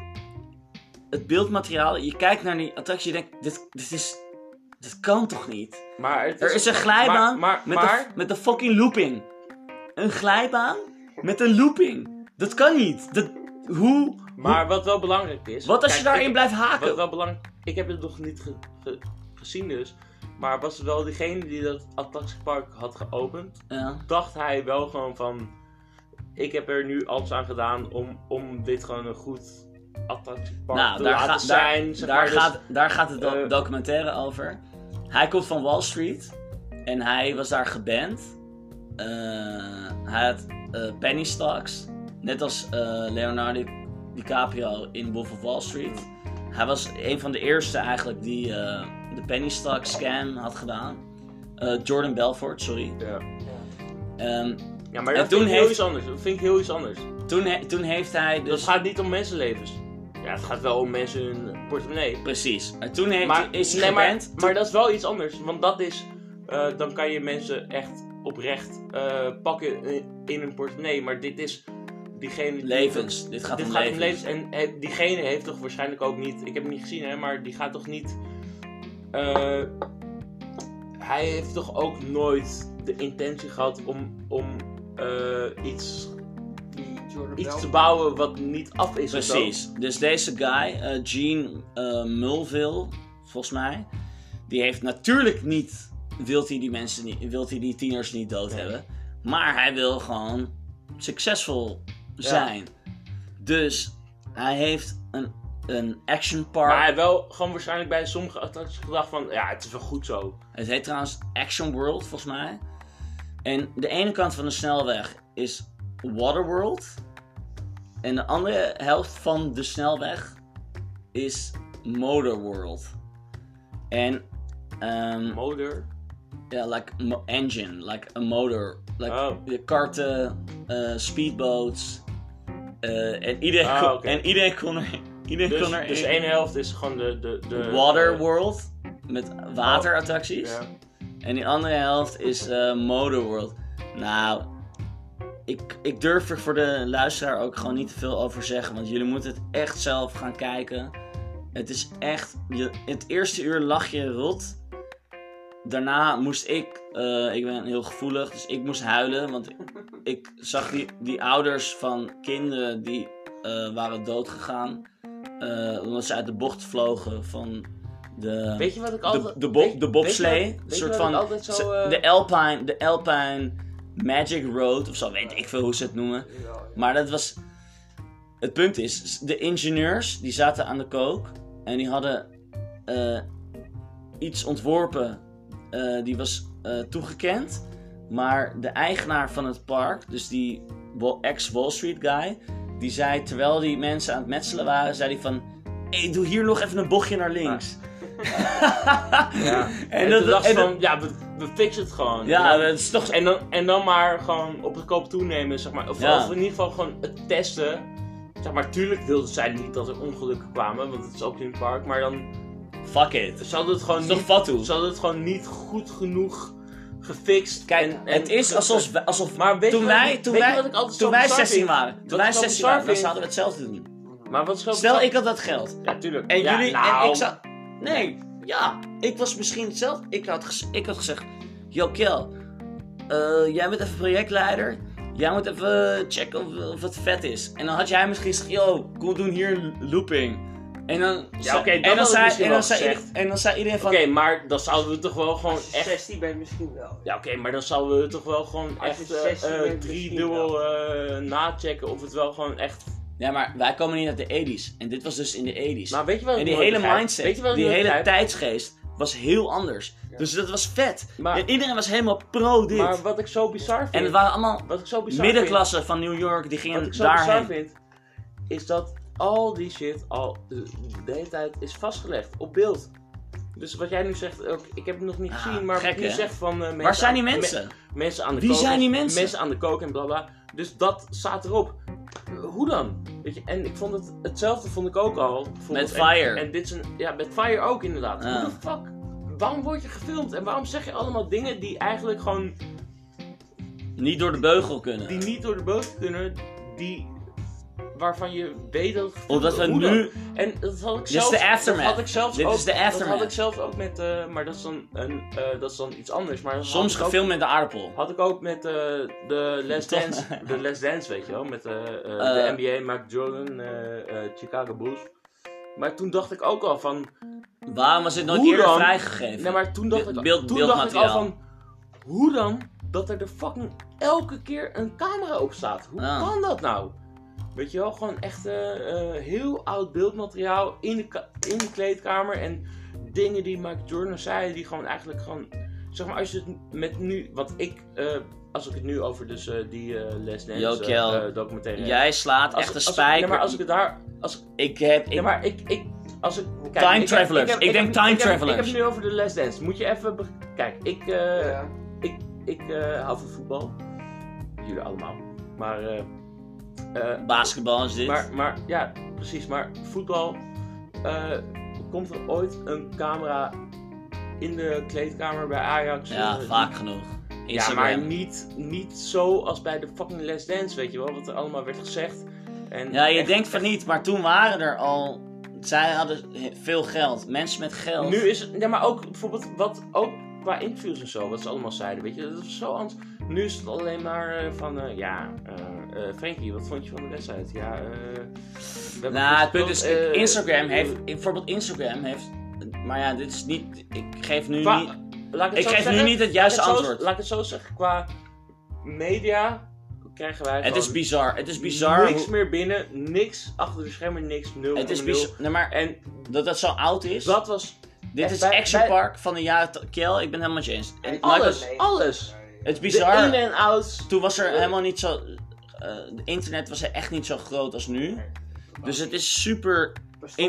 [SPEAKER 1] het beeldmateriaal, je kijkt naar die attractie, je denkt, dit, dit is, dit kan toch niet?
[SPEAKER 2] Maar het
[SPEAKER 1] Er is een glijbaan
[SPEAKER 2] Maar, maar,
[SPEAKER 1] met,
[SPEAKER 2] maar-
[SPEAKER 1] De, met de fucking looping. Een glijbaan met een looping. Dat kan niet. Dat, hoe?
[SPEAKER 2] maar wat wel belangrijk is...
[SPEAKER 1] Wat als
[SPEAKER 2] kijk,
[SPEAKER 1] je daarin
[SPEAKER 2] ik-
[SPEAKER 1] blijft
[SPEAKER 2] Wat
[SPEAKER 1] haken?
[SPEAKER 2] wel belangrijk... Ik heb het nog niet ge- ge- gezien dus. Maar was het wel degene die dat attractiepark had geopend?
[SPEAKER 1] Ja.
[SPEAKER 2] Dacht hij wel gewoon van... Ik heb er nu alles aan gedaan om, om dit gewoon een goed attractiepark
[SPEAKER 1] Nou,
[SPEAKER 2] te
[SPEAKER 1] daar,
[SPEAKER 2] laten
[SPEAKER 1] ga-
[SPEAKER 2] zijn.
[SPEAKER 1] daar,
[SPEAKER 2] zeg
[SPEAKER 1] daar,
[SPEAKER 2] maar. Dus-
[SPEAKER 1] gaat, daar gaat het do-
[SPEAKER 2] eh,
[SPEAKER 1] documentaire over. Hij komt van Wall Street en hij was daar geband. Eh, hij had eh, penny stocks, net als eh, Leonardo DiCaprio in Wolf of Wall Street. Hij was een van de eerste eigenlijk die eh, de penny stock scam had gedaan. Eh, Jordan Belfort, sorry.
[SPEAKER 2] Ja.
[SPEAKER 1] Ehm,
[SPEAKER 2] Ja, maar
[SPEAKER 1] En
[SPEAKER 2] dat
[SPEAKER 1] toen
[SPEAKER 2] vind ik heel
[SPEAKER 1] heeft- Dus-
[SPEAKER 2] iets anders. Dat vind ik heel iets anders.
[SPEAKER 1] toen, he- toen heeft hij
[SPEAKER 2] Dat
[SPEAKER 1] dus...
[SPEAKER 2] gaat niet om mensenlevens. Ja, het gaat wel om mensen hun portemonnee.
[SPEAKER 1] Precies. En toen heeft,
[SPEAKER 2] Maar,
[SPEAKER 1] is hij
[SPEAKER 2] nee, maar,
[SPEAKER 1] geband.
[SPEAKER 2] maar dat is wel iets anders. Want dat is... eh, dan kan je mensen echt oprecht eh, pakken in, in hun portemonnee. Maar dit is... diegene... die-
[SPEAKER 1] Levens. Dit gaat
[SPEAKER 2] dit
[SPEAKER 1] om
[SPEAKER 2] gaat om
[SPEAKER 1] levens.
[SPEAKER 2] levens. En eh, diegene heeft toch waarschijnlijk ook niet. Ik heb hem niet gezien, hè, maar die gaat toch niet. eh, hij heeft toch ook nooit de intentie gehad om, om eh, iets,
[SPEAKER 3] Die Jordan
[SPEAKER 2] iets te
[SPEAKER 3] Bell.
[SPEAKER 2] bouwen wat niet af is. of zo.
[SPEAKER 1] Precies. Dus deze guy, eh Gene eh, Mulville, volgens mij, die heeft natuurlijk niet, wilt hij die mensen niet, wilt hij die tieners niet dood
[SPEAKER 2] Nee.
[SPEAKER 1] hebben, maar hij wil gewoon succesvol zijn. Dus hij heeft een, een action park.
[SPEAKER 2] Maar hij wel gewoon waarschijnlijk bij sommige attracties gedacht van ja, het is wel goed zo.
[SPEAKER 1] Het heet trouwens Action World, volgens mij. En de ene kant van de snelweg is Waterworld. En de andere helft van de snelweg is Motor World. En, ehm,
[SPEAKER 2] Motor.
[SPEAKER 1] ja, like mo- engine, like a motor. Like
[SPEAKER 2] Oh.
[SPEAKER 1] de karten, eh, speedboats. eh, en iedereen,
[SPEAKER 2] Ah,
[SPEAKER 1] kon,
[SPEAKER 2] oké.
[SPEAKER 1] en iedereen kon er, iedereen
[SPEAKER 2] Dus,
[SPEAKER 1] kon er
[SPEAKER 2] dus de
[SPEAKER 1] in.
[SPEAKER 2] ene helft is gewoon de. de, de
[SPEAKER 1] Water World, met waterattracties.
[SPEAKER 2] Oh. Ja.
[SPEAKER 1] En die andere helft is eh Motor World. Nou, ik, ik durf er voor de luisteraar ook gewoon niet te veel over zeggen. Want jullie moeten het echt zelf gaan kijken. Het is echt. Je, het eerste uur lag je rot. Daarna moest ik. eh, ik ben heel gevoelig, dus ik moest huilen. Want ik zag die, die ouders van kinderen die eh, waren doodgegaan. eh, omdat ze uit de bocht vlogen van de
[SPEAKER 2] Weet je wat ik
[SPEAKER 1] de,
[SPEAKER 2] altijd.
[SPEAKER 1] de, bob-
[SPEAKER 2] weet-
[SPEAKER 1] de
[SPEAKER 2] weet je
[SPEAKER 1] bobslee.
[SPEAKER 2] wat- weet
[SPEAKER 1] Een
[SPEAKER 2] je
[SPEAKER 1] soort
[SPEAKER 2] wat
[SPEAKER 1] van.
[SPEAKER 2] ik altijd zo,
[SPEAKER 1] ze-
[SPEAKER 2] eh,
[SPEAKER 1] de, Alpine, de Alpine Magic Road of zo, weet ik veel hoe ze het noemen.
[SPEAKER 3] Jawel, ja.
[SPEAKER 1] Maar dat was. Het punt is, de ingenieurs die zaten aan de kook en die hadden eh, iets ontworpen. eh, die was eh, toegekend, maar de eigenaar van het park, dus die wa- ex-Wall Street guy, die zei terwijl die mensen aan het metselen waren, zei hij van. Hey, doe hier nog even een bochtje naar links.
[SPEAKER 2] Ja.
[SPEAKER 1] En,
[SPEAKER 2] En,
[SPEAKER 1] dat-
[SPEAKER 2] toen dacht
[SPEAKER 1] en
[SPEAKER 2] ik
[SPEAKER 1] dat-
[SPEAKER 2] van, ja, we, we fixen het gewoon.
[SPEAKER 1] Ja,
[SPEAKER 2] En dan-
[SPEAKER 1] dat is toch.
[SPEAKER 2] en, dan, en dan maar gewoon op de koop toenemen, zeg maar. Of,
[SPEAKER 1] Ja.
[SPEAKER 2] of in ieder geval gewoon het testen. Zeg maar, tuurlijk wilden zij niet dat er ongelukken kwamen, want het is ook in het park. Maar dan
[SPEAKER 1] Fuck it.
[SPEAKER 2] ze hadden het gewoon,
[SPEAKER 1] Het is toch
[SPEAKER 2] niet,
[SPEAKER 1] Fatou?
[SPEAKER 2] ze hadden het gewoon niet goed genoeg gefixt.
[SPEAKER 1] Kijk,
[SPEAKER 2] en- en
[SPEAKER 1] het is
[SPEAKER 2] ge-
[SPEAKER 1] alsof, wij- alsof
[SPEAKER 2] Maar weet
[SPEAKER 1] toen
[SPEAKER 2] je wat-
[SPEAKER 1] wij, toen
[SPEAKER 2] weet je
[SPEAKER 1] wij,
[SPEAKER 2] wat ik altijd zo
[SPEAKER 1] toen wij
[SPEAKER 2] bizar
[SPEAKER 1] 16
[SPEAKER 2] vind?
[SPEAKER 1] waren,
[SPEAKER 2] ik
[SPEAKER 1] toen wij
[SPEAKER 2] zo
[SPEAKER 1] 16
[SPEAKER 2] bizar
[SPEAKER 1] waren, dan
[SPEAKER 2] vind-
[SPEAKER 1] zouden we hetzelfde doen.
[SPEAKER 2] Maar wat scheelt
[SPEAKER 1] Stel,
[SPEAKER 2] het-
[SPEAKER 1] ik had dat geld.
[SPEAKER 2] Ja, tuurlijk.
[SPEAKER 1] En
[SPEAKER 2] Ja,
[SPEAKER 1] jullie, en
[SPEAKER 2] nou,
[SPEAKER 1] ik zou, nee, ja, ik was misschien zelf, ik had, gez- ik had gezegd, yo Kel, eh, jij bent even projectleider, jij moet even checken of, of het vet is. En dan had jij misschien gezegd, yo, kom we doen hier een looping. En dan, zei-
[SPEAKER 2] oké, dat
[SPEAKER 1] en dan,
[SPEAKER 2] had ik
[SPEAKER 1] zei,
[SPEAKER 2] misschien
[SPEAKER 1] en dan,
[SPEAKER 2] wel
[SPEAKER 1] zei,
[SPEAKER 2] gezegd.
[SPEAKER 1] ieder- en dan zei iedereen
[SPEAKER 2] Oké,
[SPEAKER 1] van,
[SPEAKER 2] maar dan zouden we toch wel gewoon
[SPEAKER 3] Als je
[SPEAKER 2] echt
[SPEAKER 3] 16 bent misschien wel.
[SPEAKER 2] Ja, oké, maar dan zouden we toch wel gewoon
[SPEAKER 3] Als je
[SPEAKER 2] echt eh,
[SPEAKER 3] 16
[SPEAKER 2] eh,
[SPEAKER 3] bent,
[SPEAKER 2] drie
[SPEAKER 3] misschien
[SPEAKER 2] dubbel eh, nachecken of het wel gewoon echt.
[SPEAKER 1] ja maar wij komen niet uit de 80s. En dit was dus in de 80s.
[SPEAKER 2] Maar Nou, weet je wat ik
[SPEAKER 1] En die
[SPEAKER 2] nooit
[SPEAKER 1] hele
[SPEAKER 2] begrijp? Weet je wat
[SPEAKER 1] mindset,
[SPEAKER 2] ik
[SPEAKER 1] die
[SPEAKER 2] nooit
[SPEAKER 1] hele
[SPEAKER 2] begrijp?
[SPEAKER 1] tijdsgeest was heel anders. Dus dat was vet.
[SPEAKER 2] Maar-
[SPEAKER 1] en iedereen was helemaal pro dit.
[SPEAKER 2] Maar wat ik zo bizar vind.
[SPEAKER 1] en het waren allemaal
[SPEAKER 2] wat ik zo bizar
[SPEAKER 1] middenklasse van New York, die
[SPEAKER 2] vind. Wat ik
[SPEAKER 1] gingen
[SPEAKER 2] zo bizar
[SPEAKER 1] daarheen.
[SPEAKER 2] vind. Is dat al die shit al de de hele tijd is vastgelegd op beeld. Dus wat jij nu zegt, ook, ik heb het nog niet
[SPEAKER 1] Ah,
[SPEAKER 2] gezien, maar
[SPEAKER 1] gek,
[SPEAKER 2] wat je nu
[SPEAKER 1] hè?
[SPEAKER 2] zegt van. eh, mensen
[SPEAKER 1] Waar zijn
[SPEAKER 2] aan-
[SPEAKER 1] die
[SPEAKER 2] me-
[SPEAKER 1] mensen?
[SPEAKER 2] mensen aan de
[SPEAKER 1] Wie
[SPEAKER 2] kook.
[SPEAKER 1] zijn die mensen?
[SPEAKER 2] Mensen aan de kook en bla bla. Dus dat staat erop. Eh, Hoe dan? Weet je, en ik vond het hetzelfde vond ik ook al. bijvoorbeeld.
[SPEAKER 1] Met Fire.
[SPEAKER 2] En, en dit is een, ja, met Fire ook inderdaad.
[SPEAKER 1] Ja.
[SPEAKER 2] Hoe de fuck? Waarom word je gefilmd? En waarom zeg je allemaal dingen die eigenlijk gewoon
[SPEAKER 1] Niet door de beugel kunnen.
[SPEAKER 2] die niet door de boot kunnen, die waarvan je weet dat het gefilmd
[SPEAKER 1] Omdat we
[SPEAKER 2] wordt? Hoe
[SPEAKER 1] nu.
[SPEAKER 2] dan? En dat had ik
[SPEAKER 1] Dit is
[SPEAKER 2] zelfs.
[SPEAKER 1] de aftermath.
[SPEAKER 2] Dat had ik zelfs
[SPEAKER 1] Dit
[SPEAKER 2] ook,
[SPEAKER 1] is de
[SPEAKER 2] Dat
[SPEAKER 1] aftermath.
[SPEAKER 2] had ik zelfs ook met, eh, maar dat is dan een, eh, dat is dan iets anders. Maar dat had
[SPEAKER 1] Soms
[SPEAKER 2] ik ook-
[SPEAKER 1] gefilmd met de aardappel.
[SPEAKER 2] Had ik ook met eh, de Les
[SPEAKER 1] Toch?
[SPEAKER 2] Dance, de Les Dance, weet je wel, met eh, eh,
[SPEAKER 1] Eh.
[SPEAKER 2] de NBA, Mark Jordan, eh, eh, Chicago Bulls. Maar toen dacht ik ook al van,
[SPEAKER 1] Waarom was dit nooit
[SPEAKER 2] Hoe
[SPEAKER 1] eerder
[SPEAKER 2] dan?
[SPEAKER 1] vrijgegeven?
[SPEAKER 2] nee maar toen dacht ik, al-
[SPEAKER 1] Beeld-
[SPEAKER 2] toen dacht ik al
[SPEAKER 1] beeldmateriaal.
[SPEAKER 2] van, hoe dan dat er de fucking elke keer een camera op staat? Hoe
[SPEAKER 1] Ja.
[SPEAKER 2] kan dat nou? Weet je wel, gewoon echt eh, eh, heel oud beeldmateriaal in de, ka- in de kleedkamer en dingen die Mike Jordan zei, die gewoon eigenlijk gewoon, zeg maar als je het met nu, wat ik, eh, als ik het nu over dus eh, die eh Les Dance
[SPEAKER 1] Yo,
[SPEAKER 2] eh,
[SPEAKER 1] Kel,
[SPEAKER 2] eh, documentaire heb.
[SPEAKER 1] Jij slaat
[SPEAKER 2] Als-
[SPEAKER 1] echt een
[SPEAKER 2] als ik-
[SPEAKER 1] spijker.
[SPEAKER 2] nee, maar als ik het daar, als ik
[SPEAKER 1] Ik heb. Ik,
[SPEAKER 2] ja, maar ik, ik, als ik... kijk,
[SPEAKER 1] Time
[SPEAKER 2] ik heb-
[SPEAKER 1] travelers. Ik denk
[SPEAKER 2] heb-
[SPEAKER 1] time
[SPEAKER 2] heb-
[SPEAKER 1] travelers.
[SPEAKER 2] Ik heb het nu over de Les Dance. Moet je even... be- Kijk, ik, eh, ik eh, hou van voetbal. Jullie allemaal. Maar, eh, eh,
[SPEAKER 1] Basketbal is dit.
[SPEAKER 2] maar, maar, ja, precies. Maar voetbal... eh, komt er ooit een camera in de kleedkamer bij Ajax?
[SPEAKER 1] ja,
[SPEAKER 2] Eh,
[SPEAKER 1] vaak genoeg.
[SPEAKER 2] Ja,
[SPEAKER 1] Instagram.
[SPEAKER 2] maar niet, niet zo als bij de fucking Last Dance, weet je wel, wat er allemaal werd gezegd. En
[SPEAKER 1] Ja, je
[SPEAKER 2] echt-
[SPEAKER 1] denkt van niet, maar toen waren er al. Zij hadden he- veel geld. Mensen met geld.
[SPEAKER 2] Nu is het, ja, maar ook bijvoorbeeld wat ook qua interviews en zo, wat ze allemaal zeiden, weet je, dat is zo anders. Nu is het alleen maar eh, van, eh, ja, eh eh, Frankie, wat vond je van de wedstrijd? Ja, eh, we hebben
[SPEAKER 1] Nou, het punt is,
[SPEAKER 2] gespeeld, eh,
[SPEAKER 1] Instagram
[SPEAKER 2] eh,
[SPEAKER 1] heeft, bijvoorbeeld Instagram heeft, maar ja, dit is niet, ik geef nu
[SPEAKER 2] Qua-
[SPEAKER 1] niet,
[SPEAKER 2] eh, laat ik het
[SPEAKER 1] ik
[SPEAKER 2] zo
[SPEAKER 1] geef
[SPEAKER 2] zeggen,
[SPEAKER 1] nu niet het
[SPEAKER 2] laat ik
[SPEAKER 1] juiste
[SPEAKER 2] het zo-
[SPEAKER 1] antwoord.
[SPEAKER 2] Laat ik het zo zeggen, qua media krijgen wij
[SPEAKER 1] het is
[SPEAKER 2] gewoon
[SPEAKER 1] bizar, het is bizar,
[SPEAKER 2] niks
[SPEAKER 1] hoe-
[SPEAKER 2] meer binnen, niks achter de schermen, niks, nul,
[SPEAKER 1] het is
[SPEAKER 2] nul.
[SPEAKER 1] bizar, nee, maar
[SPEAKER 2] En
[SPEAKER 1] dat dat zo oud is,
[SPEAKER 2] dat was,
[SPEAKER 1] dit
[SPEAKER 2] echt
[SPEAKER 1] is
[SPEAKER 2] bij-
[SPEAKER 1] Action
[SPEAKER 2] bij-
[SPEAKER 1] Park van de jaren, t- Kel, ik ben helemaal met je eens. En
[SPEAKER 3] En
[SPEAKER 1] Michael-
[SPEAKER 2] alles. alles.
[SPEAKER 1] Het is
[SPEAKER 2] de
[SPEAKER 1] bizar,
[SPEAKER 2] in- en outs,
[SPEAKER 1] toen was er
[SPEAKER 2] Eh.
[SPEAKER 1] helemaal niet zo, eh, de internet was er echt niet zo groot als nu, dus het is super Inter-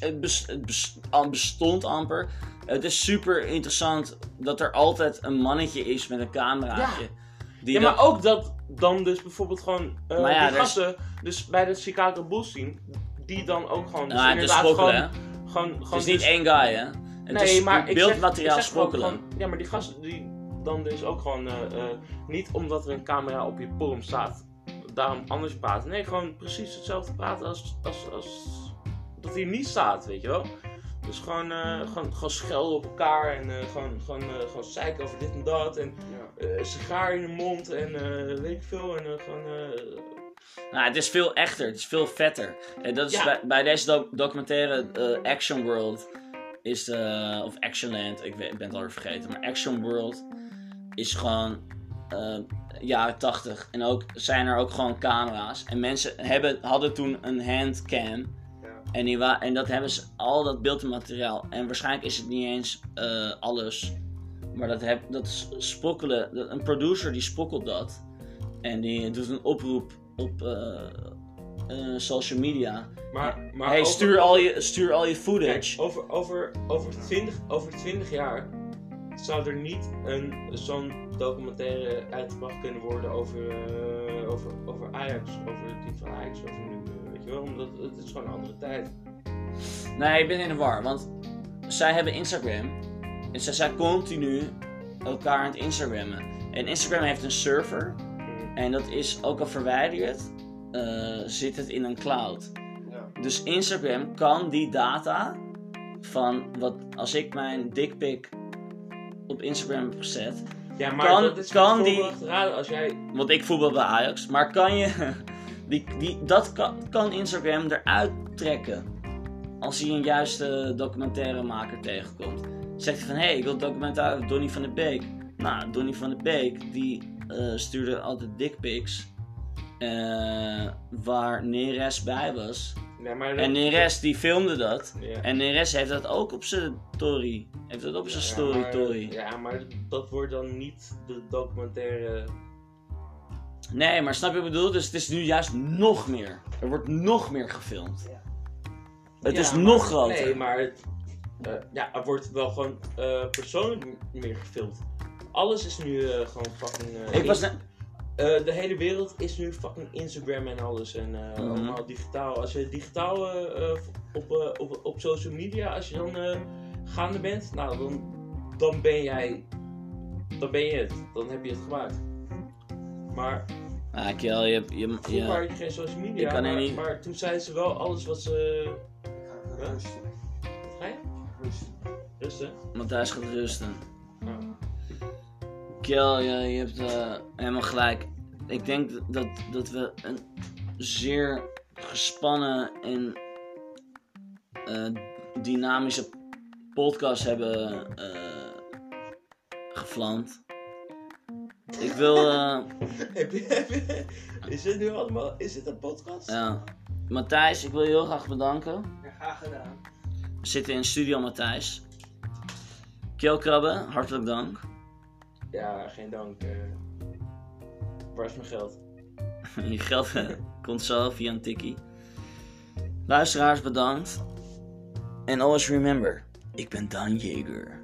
[SPEAKER 1] Het, bes- het bes- am- bestond amper. Het is super interessant dat er altijd een mannetje is met een cameraatje. Die
[SPEAKER 2] ja,
[SPEAKER 1] dat-
[SPEAKER 2] maar ook dat dan dus bijvoorbeeld gewoon eh
[SPEAKER 1] Maar ja,
[SPEAKER 2] die
[SPEAKER 1] er is-
[SPEAKER 2] gasten, dus bij de Chicago Bulls team, die dan ook gewoon... Dus
[SPEAKER 1] Nou, het is
[SPEAKER 2] inderdaad
[SPEAKER 1] schokkelen,
[SPEAKER 2] gewoon,
[SPEAKER 1] hè?
[SPEAKER 2] gewoon, gewoon...
[SPEAKER 1] Het is niet
[SPEAKER 2] dus-
[SPEAKER 1] één guy, hè? Het is
[SPEAKER 2] ik
[SPEAKER 1] beeldmateriaal
[SPEAKER 2] zeg- ik zeg gewoon
[SPEAKER 1] schokkelen.
[SPEAKER 2] gewoon- ja, maar die gasten die dan dus ook gewoon... eh, eh, niet omdat er een camera op je polm staat, daarom anders praten. Nee, gewoon precies hetzelfde praten als, als, als dat hij niet staat, weet je wel. Dus gewoon, eh, gewoon, gewoon schelden op elkaar en eh, gewoon, gewoon, eh, gewoon zeiken over dit en dat. En eh, sigaar in de mond en eh, weet ik veel. En eh, gewoon. eh,
[SPEAKER 1] Nou, het is veel echter, het is veel vetter. En dat is
[SPEAKER 2] Ja.
[SPEAKER 1] bij, bij deze doc- documentaire eh, Action World is de, of Actionland, ik, weet, ik ben het alweer vergeten, maar Action World is gewoon eh jaren 80 en ook zijn er ook gewoon camera's en mensen hebben, hadden toen een handcam
[SPEAKER 3] Ja.
[SPEAKER 1] en, die wa- en dat hebben ze al dat beeldmateriaal en waarschijnlijk is het niet eens eh, alles, maar dat, heb, dat is spokkelen, dat- een producer die spokkelt dat en die doet een oproep op eh, eh, social media.
[SPEAKER 2] maar, maar
[SPEAKER 1] hey,
[SPEAKER 2] over-
[SPEAKER 1] stuur, al je, stuur al je
[SPEAKER 2] Kijk,
[SPEAKER 1] footage.
[SPEAKER 2] over, over, over, 20, over 20 jaar zou er niet een zo'n documentaire uitgebracht kunnen worden over, eh, over, over Ajax, over het team van Ajax, over nu, eh, weet je wel, omdat het is gewoon een andere tijd.
[SPEAKER 1] Nee, ik ben in de war, want zij hebben Instagram. En zij zijn continu elkaar aan het Instagrammen. En Instagram heeft een server. En dat is, ook al verwijderd, eh, zit het in een cloud. Dus Instagram kan die data van wat als ik mijn dickpic op Instagram heb gezet.
[SPEAKER 2] Ja, maar
[SPEAKER 1] maar Kan-
[SPEAKER 2] dat is
[SPEAKER 1] kan
[SPEAKER 2] bijvoorbeeld
[SPEAKER 1] die-
[SPEAKER 2] te raden als jij...
[SPEAKER 1] Want ik voetbal bij Ajax. Maar kan je. Die, die, dat kan, kan Instagram eruit trekken. Als hij een juiste documentairemaker tegenkomt. Zegt hij van hé, hey, ik wil documentaire over Donny van de Beek. Nou, Donny van de Beek die eh, stuurde altijd dickpics. eh, waar Neres bij was.
[SPEAKER 2] Nee, maar dat-
[SPEAKER 1] En Neres die filmde dat.
[SPEAKER 2] Ja.
[SPEAKER 1] En Neres heeft dat ook op zijn story. Heeft dat op zijn story,
[SPEAKER 2] maar-
[SPEAKER 1] tory.
[SPEAKER 2] Ja, maar dat wordt dan niet de documentaire.
[SPEAKER 1] Nee, maar snap je wat ik bedoel? Dus het is nu juist nog meer. Er wordt nog meer gefilmd.
[SPEAKER 3] Ja.
[SPEAKER 1] Het
[SPEAKER 2] Ja,
[SPEAKER 1] is
[SPEAKER 2] maar-
[SPEAKER 1] nog groter.
[SPEAKER 2] Nee, maar het, eh, ja, er wordt wel gewoon eh, persoonlijk m- meer gefilmd. Alles is nu eh, gewoon fucking. eh,
[SPEAKER 1] ik was
[SPEAKER 2] in-
[SPEAKER 1] net...
[SPEAKER 2] eh, de hele wereld is nu fucking Instagram en alles. En eh,
[SPEAKER 1] Mhm.
[SPEAKER 2] allemaal digitaal. Als je digitaal eh, eh, op, eh, op, op social media, als je dan eh, gaande bent, nou dan, dan ben jij. Dan ben je het. Dan heb je het gemaakt. Maar
[SPEAKER 1] Ah, Kiel, je, hebt- je, je,
[SPEAKER 2] Vroeger had je geen social media,
[SPEAKER 1] Ik kan er
[SPEAKER 2] maar,
[SPEAKER 1] niet-
[SPEAKER 2] maar toen zeiden ze wel alles wat ze...
[SPEAKER 3] Rustig.
[SPEAKER 2] Wat ga je?
[SPEAKER 3] Rustig.
[SPEAKER 2] Rustig.
[SPEAKER 1] Matthijs gaat rusten.
[SPEAKER 2] Nou,
[SPEAKER 1] Kiel, je, je hebt eh, helemaal gelijk. Ik denk dat- dat, dat we een zeer gespannen en eh, dynamische podcast hebben eh gevlamd. Ik wil... eh,
[SPEAKER 2] Heb je, heb je- is dit nu allemaal... Is dit een podcast?
[SPEAKER 1] ja. Matthijs, ik wil je heel graag bedanken.
[SPEAKER 3] Ja, graag gedaan.
[SPEAKER 1] We zitten in Studio Matthijs. Keelkrabbe, hartelijk dank.
[SPEAKER 2] Ja, geen dank. eh. waar is mijn geld?
[SPEAKER 1] Je geld eh, komt zo via een tikkie. Luisteraars, bedankt. En always remember, ik ben Dan Jager.